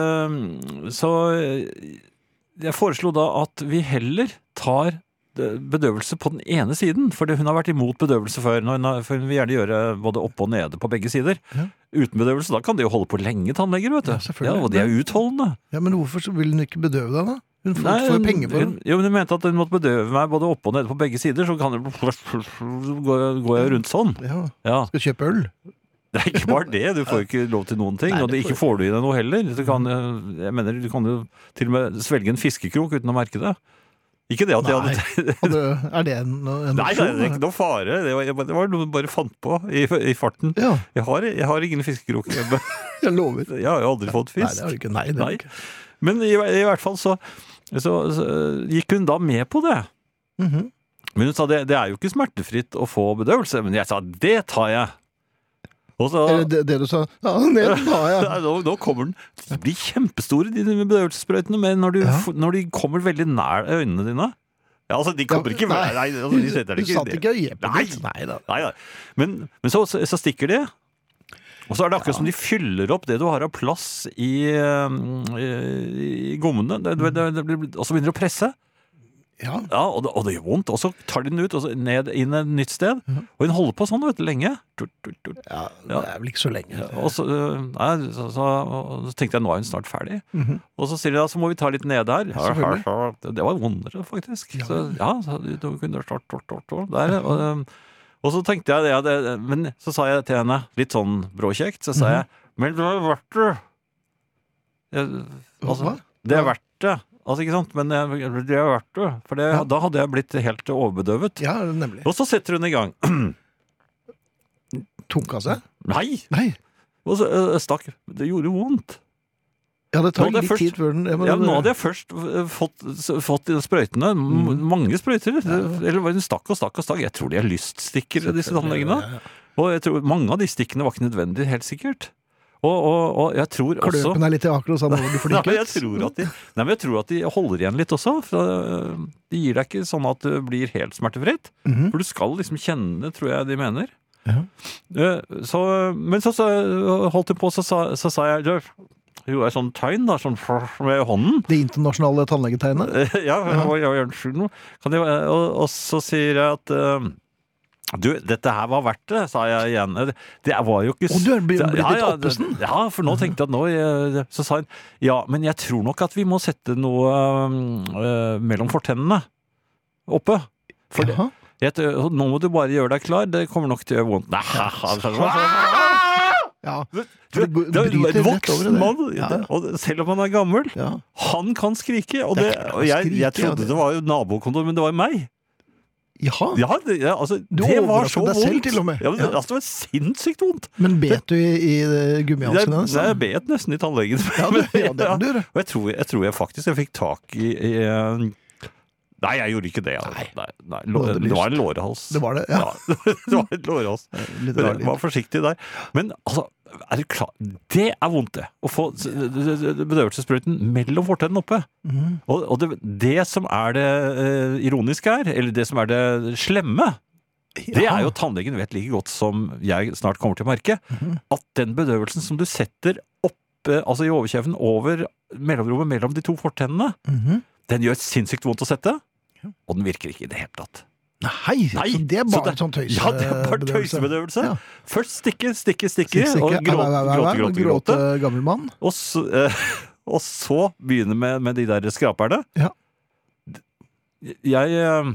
C: eh, så eh, jeg foreslo da at vi heller tar eh, bedøvelse på den ene siden, for hun har vært imot bedøvelse før, når hun har, for hun vil gjerne gjøre både oppe og nede på begge sider.
B: Ja.
C: Uten bedøvelse, da kan de jo holde på lenge, tannleger, vet du.
B: Ja, selvfølgelig.
C: og de er utholdende.
B: Ja, Men hvorfor så vil hun ikke bedøve deg, da? Hun får, får jo penger for
C: hun,
B: det.
C: jo, men hun mente at hun måtte bedøve meg både oppe og nede på begge sider, så kan det [laughs] går jeg- går jeg rundt sånn.
B: Ja,
C: Ja.
B: skal kjøpe øl.
C: Det er ikke bare det, du får jo ikke lov til noen ting.
B: Nei, det
C: og det
B: får
C: ikke får du i deg noe heller. Du kan, eh, jeg mener, du kan jo til og med svelge en fiskekrok uten å merke det. Ikke det at jeg
B: Nei.
C: hadde
B: Og det, er det en, en
C: [laughs] Nei, det
B: opsjon,
C: er ikke noe fare. Det var, jeg bare- det var noe du bare fant på i, i farten.
B: Ja,
C: Jeg har, jeg har ingen fiskekroker hjemme.
B: jeg lover.
C: Jeg har jo aldri fått
B: Nei, det
C: fisk.
B: er det ikke. Nei, det er
C: Nei.
B: det ikke.
C: Men i, i hvert fall så, så, så gikk hun da med på det.
B: Mhm.
C: Men hun sa det, det er jo ikke smertefritt å få bedøvelse. Men jeg sa det tar jeg. Og så,
B: Eller det, det du sa Ja, ned tar jeg.
C: [laughs] Nei, nå, nå kommer den De blir kjempestore, de de bedøvelsessprøytene, men når, du,
B: Ja.
C: f- når de kommer veldig nær øynene dine Ja, altså, de kommer
B: Ja,
C: ikke
B: nei.
C: nær Nei, altså, de setter det
B: Du satt
C: ikke
B: ikke øyet på
C: Nei.
B: ditt. Nei da.
C: Nei, nei. Men, men så, så, så stikker de. Og så er det akkurat som de fyller opp det du har av plass i, eh, i, i gommene. Det, det, det, det, blir- og så begynner de å presse.
B: Ja.
C: Ja, og det, og det gjør vondt. Og så tar de den ut, og så ned inn et nytt sted. Og hun holder på sånn vet du, lenge. Tut, tut, tut.
B: ja, det er vel ikke så lenge.
C: Og så, øh, nei, så, så, og så tenkte jeg nå er hun snart ferdig. Og så sier de ja, så må vi ta litt nede her.
B: Mhm. selvfølgelig.
C: Det, det var vondere, faktisk. Ja, så, ja, så du, du kunne start, start, start, start, der, og, øhm, og så tenkte jeg ja, det, Men så sa jeg til henne, litt sånn bråkjekt, så sa
B: Mhm.
C: jeg Men det er verdt det. Jeg- Altså,
B: Hva?
C: det er verdt det. Altså, ikke sant? Men jeg- det er verdt det. For det, da hadde jeg blitt helt overbedøvet.
B: Ja, nemlig.
C: Og så setter hun i gang. [clears throat]
B: Tunka seg?
C: Nei!
B: Nei.
C: Og så øh, stakk. Det gjorde vondt.
B: Ja, det
C: Nå
B: tar
C: hadde jeg
B: litt
C: først-
B: tid før den ja, men-
C: Ja, men nå hadde jeg først eh, fått, s- fått de sprøytene. M-
B: Mm.
C: Mange sprøyter. Eller var det stakk og stakk og stakk. Jeg tror de er lyststikker, disse tannlegene.
B: Ja, ja.
C: Og jeg tror mange av de stikkene var ikke nødvendige, helt sikkert. Og, og, og jeg tror også
B: Kløpen er litt i akkurat samme hvor du
C: [laughs] Nei,
B: flinker
C: men jeg tror, at de, nei, men jeg tror at de holder igjen litt også. For eh, de gir deg ikke sånn at det blir helt smertefritt. For du skal liksom kjenne, tror jeg de mener.
B: Mhm. Ja.
C: Eh, Så, men så, så holdt hun på, så sa, så sa jeg "Du," Gjorde jeg sånn tegn, da, sånn [laughs] med hånden.
B: Det internasjonale tannlegetegnet?
C: Eh, [laughs] Ja, jeg var- jeg var gjerne sjuk nå. Kan jeg, eh, og, og så sier jeg at eh, du, dette her var verdt det, sa jeg igjen. Eh, Det var jo ikke s-
B: Å, du er blitt
C: det-
B: litt
C: det-
B: oppesen.
C: Ja, for nå tenkte jeg at nå eh, Så sa hun ja, men jeg tror nok at vi må sette noe eh, mellom fortennene oppe. For det,
B: Jaha.
C: jeg, t- nå må du bare gjøre deg klar, det kommer nok til å gjøre vondt. Nei,
B: Ja.
C: Du,
B: For det går-
C: det er jo
B: bryter
C: en
B: rett over i
C: voksen
B: det.
C: mann,
B: Ja.
C: det- og selv om han er gammel.
B: ja.
C: Han kan skrike, og,
B: Det er
C: det,
B: ikke noe å
C: og jeg, jeg
B: skrike, ja,
C: trodde
B: det-
C: det var jo nabokontor, men det var jo meg.
B: Jaha.
C: Ja, det, ja, altså,
B: Du
C: det var
B: overrasket
C: så
B: deg
C: vondt.
B: selv til og med.
C: Ja, men, det-
B: Ja.
C: Altså, det var sinnssykt vondt.
B: Men bet du i, i
C: Jeg,
B: gummihanskene hennes?
C: jeg bet nesten i tannlegen.
B: sånn. [laughs] Ja, du,
C: [laughs]
B: ja, det
C: Ja.
B: må du gjøre.
C: Og jeg tror, jeg tror jeg faktisk jeg fikk tak i, i eh, Nei, jeg gjorde ikke det. altså.
B: Nei.
C: Nei, nei, lå-
B: Nå hadde du
C: det var en lårhals.
B: Det var det,
C: [laughs]
B: ja.
C: det var en
B: [laughs]
C: lårhals.
B: Litt rar lyd.
C: Vær forsiktig der. Men altså, er du klar Det er vondt, det. Å få s- bedøvelsessprøyten mellom fortennene oppe.
B: Mhm,
C: Og, og det, det som er det eh, ironiske her, eller det som er det slemme, det
B: Ja.
C: er jo at
B: mhm,
C: tannlegen vet like godt som jeg snart kommer til å merke, at den bedøvelsen som du setter oppe, altså i overkjeven over mellomrommet mellom de to fortennene.
B: Mhm.
C: Den gjør sinnssykt vondt å sette, og den virker ikke i det hele tatt.
B: Nei,
C: Nei,
B: så det er
C: så
B: bare
C: det-
B: sånn tøys
C: Ja, det er bare tøysebedøvelse.
B: Ja.
C: Først stikke, stikke, stikke,
B: Stikk,
C: og
B: stikke, au, au,
C: gråte,
B: au, au,
C: gråte, gråte. gråte.
B: gammel mann.
C: Og så, eh, [laughs] og så begynne med, med de der skraperne.
B: Ja.
C: D- Jeg eh,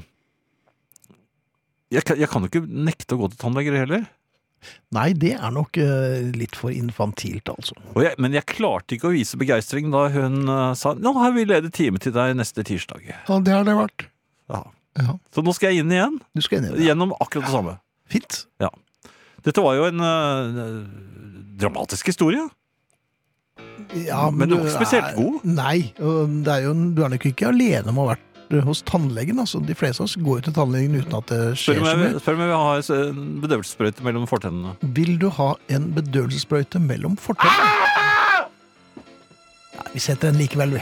C: jeg kan, jeg kan jo ikke nekte å gå til tannleger heller.
B: Nei, det er nok eh, litt for infantilt, altså.
C: Og jeg, men jeg klarte ikke å vise begeistring da hun eh, sa nå har vi ledig time til deg neste tirsdag.
B: Ja, det har det vært.
C: Ja.
B: Ja.
C: Så nå skal jeg inn igjen,
B: Du skal inn i det.
C: gjennom akkurat det samme.
B: Fint.
C: Dette var jo en eh, dramatisk historie.
B: Ja,
C: Men du var ikke spesielt
B: er-
C: god.
B: Nei, og det er jo, en- du er nok ikke alene om å ha vært eh, hos tannlegen. altså. De fleste av oss går jo til tannlegen uten at det
C: Spør
B: skjer
C: om
B: så
C: jeg,
B: mye.
C: spør om jeg vil ha en bedøvelsessprøyte mellom fortennene.
B: Vil du ha en bedøvelsessprøyte mellom fortennene? Nei, vi setter den likevel, vi.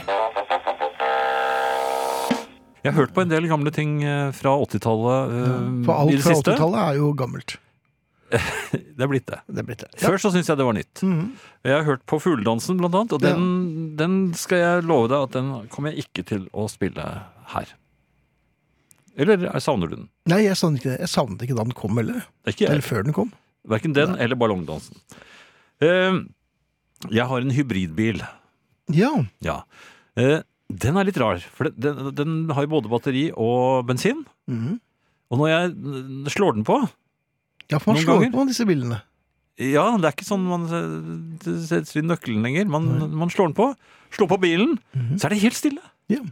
C: Jeg har hørt på en del gamle ting eh, fra 80-tallet eh,
B: For
C: i
B: alt
C: det
B: fra
C: siste.
B: 80-tallet er jo gammelt.
C: Det er blitt det.
B: Det er blitt det. Ja.
C: Før så syntes jeg det var nytt.
B: Mhm.
C: Jeg har hørt på Fugledansen blant annet, og den, den skal jeg love deg at den kommer jeg ikke til å spille her. Eller eh, savner du den?
B: Nei, jeg savnet ikke det. Jeg savnet ikke da den kom, heller.
C: Det er ikke
B: Eller
C: jeg.
B: før den kom.
C: Verken den eller ballongdansen. Eh, Jeg har en hybridbil.
B: Ja.
C: Ja. Eh, Den er litt rar, for den, den, den har jo både batteri og bensin.
B: Mhm.
C: Og når jeg eh, slår den på
B: Ja, for man
C: Noen
B: slår
C: ganger.
B: på disse bilene.
C: Ja, det er ikke sånn man eh, setter inn nøkkelen lenger. Man, man slår den på, slår på bilen, så er det helt stille.
B: Mhm. Ja.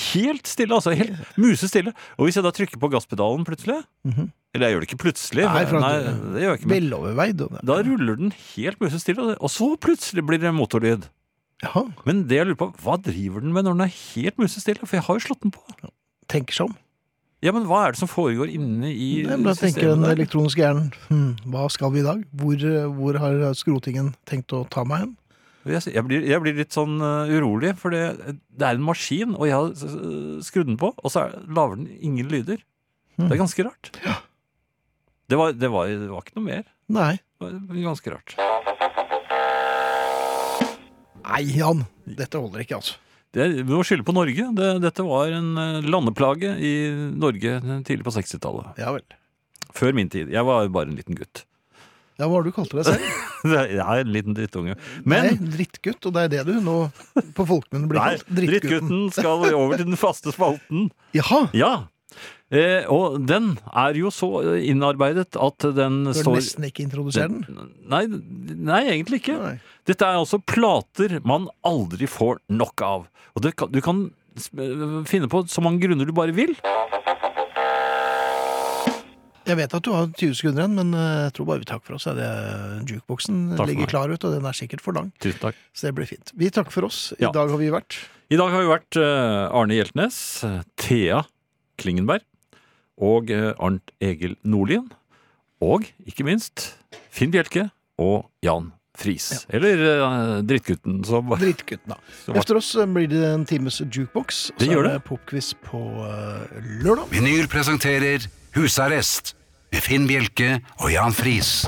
C: Helt stille, altså. Helt musestille. Og hvis jeg da trykker på gasspedalen plutselig
B: Mhm.
C: Eller jeg gjør det ikke plutselig,
B: Nei, for
C: for,
B: at-
C: nei det gjør jeg ikke. Men,
B: Veloverveid. og det-
C: da ruller den helt musestille, og- og så plutselig blir det motorlyd.
B: Ja,
C: Men det jeg lurer på, hva driver den med når den er helt musestille? For jeg har jo slått den på.
B: tenker seg om.
C: Ja, men hva er det som foregår inne i
B: Nei, men Da tenker den
C: systemet? der?
B: elektroniske hjernen hm, hva skal vi i dag? Hvor, eh, hvor har skrotingen tenkt å ta meg hen?
C: Jeg, jeg, blir, jeg blir litt sånn eh, urolig, for det, det er en maskin, og jeg har eh, skrudd den på, og så er- lager den ingen lyder.
B: Hmm.
C: Det er ganske rart. Det var, det, var, det var ikke noe mer.
B: Nei.
C: Det var ganske rart.
B: Nei, Jan. Dette holder ikke, altså.
C: Det, vi må skylde på Norge. Det, dette var en eh, landeplage i Norge tidlig på 60-tallet.
B: Ja vel.
C: Før min tid. Jeg var jo bare en liten gutt. [laughs]
B: Ja, Hva har du kalt deg selv?
C: Jeg er en liten drittunge. Men
B: Nei, drittgutt, og det er det du nå på folkemunne blir
C: nei,
B: kalt. Drittgutten.
C: drittgutten skal over til den faste spalten.
B: Jaha!
C: Ja. Eh, og den er jo så eh, innarbeidet at den
B: Du vil
C: står
B: nesten ikke introdusere den?
C: Nei, nei, egentlig ikke.
B: Nei.
C: Dette er altså plater man aldri får nok av. Og det kan, du kan sp- finne på så mange grunner du bare vil.
B: Jeg vet at du har 20 sekunder igjen, men eh, jeg tror bare vi takker for oss. Er det jukeboksen
C: for
B: ligger
C: meg.
B: klar ute, og den er sikkert for lang.
C: Tusen takk.
B: Så det blir fint. Vi takker for oss. I
C: Ja.
B: dag har vi vært
C: I dag har vi vært eh, Arne Hjeltnes, eh, Thea Klingenberg og eh, Arnt Egil Nordlien. Og ikke minst Finn Bjelke og Jan Friis. Eller eh, Drittgutten, som
B: Drittgutten, da.
C: Så-
B: Efter oss eh, blir det en times jukebox. og
C: Det
B: så
C: gjør
B: er
C: det.
B: Popquiz på eh, lørdag.
A: Vinyl presenterer Husarrest med Finn Bjelke og Jan Friis.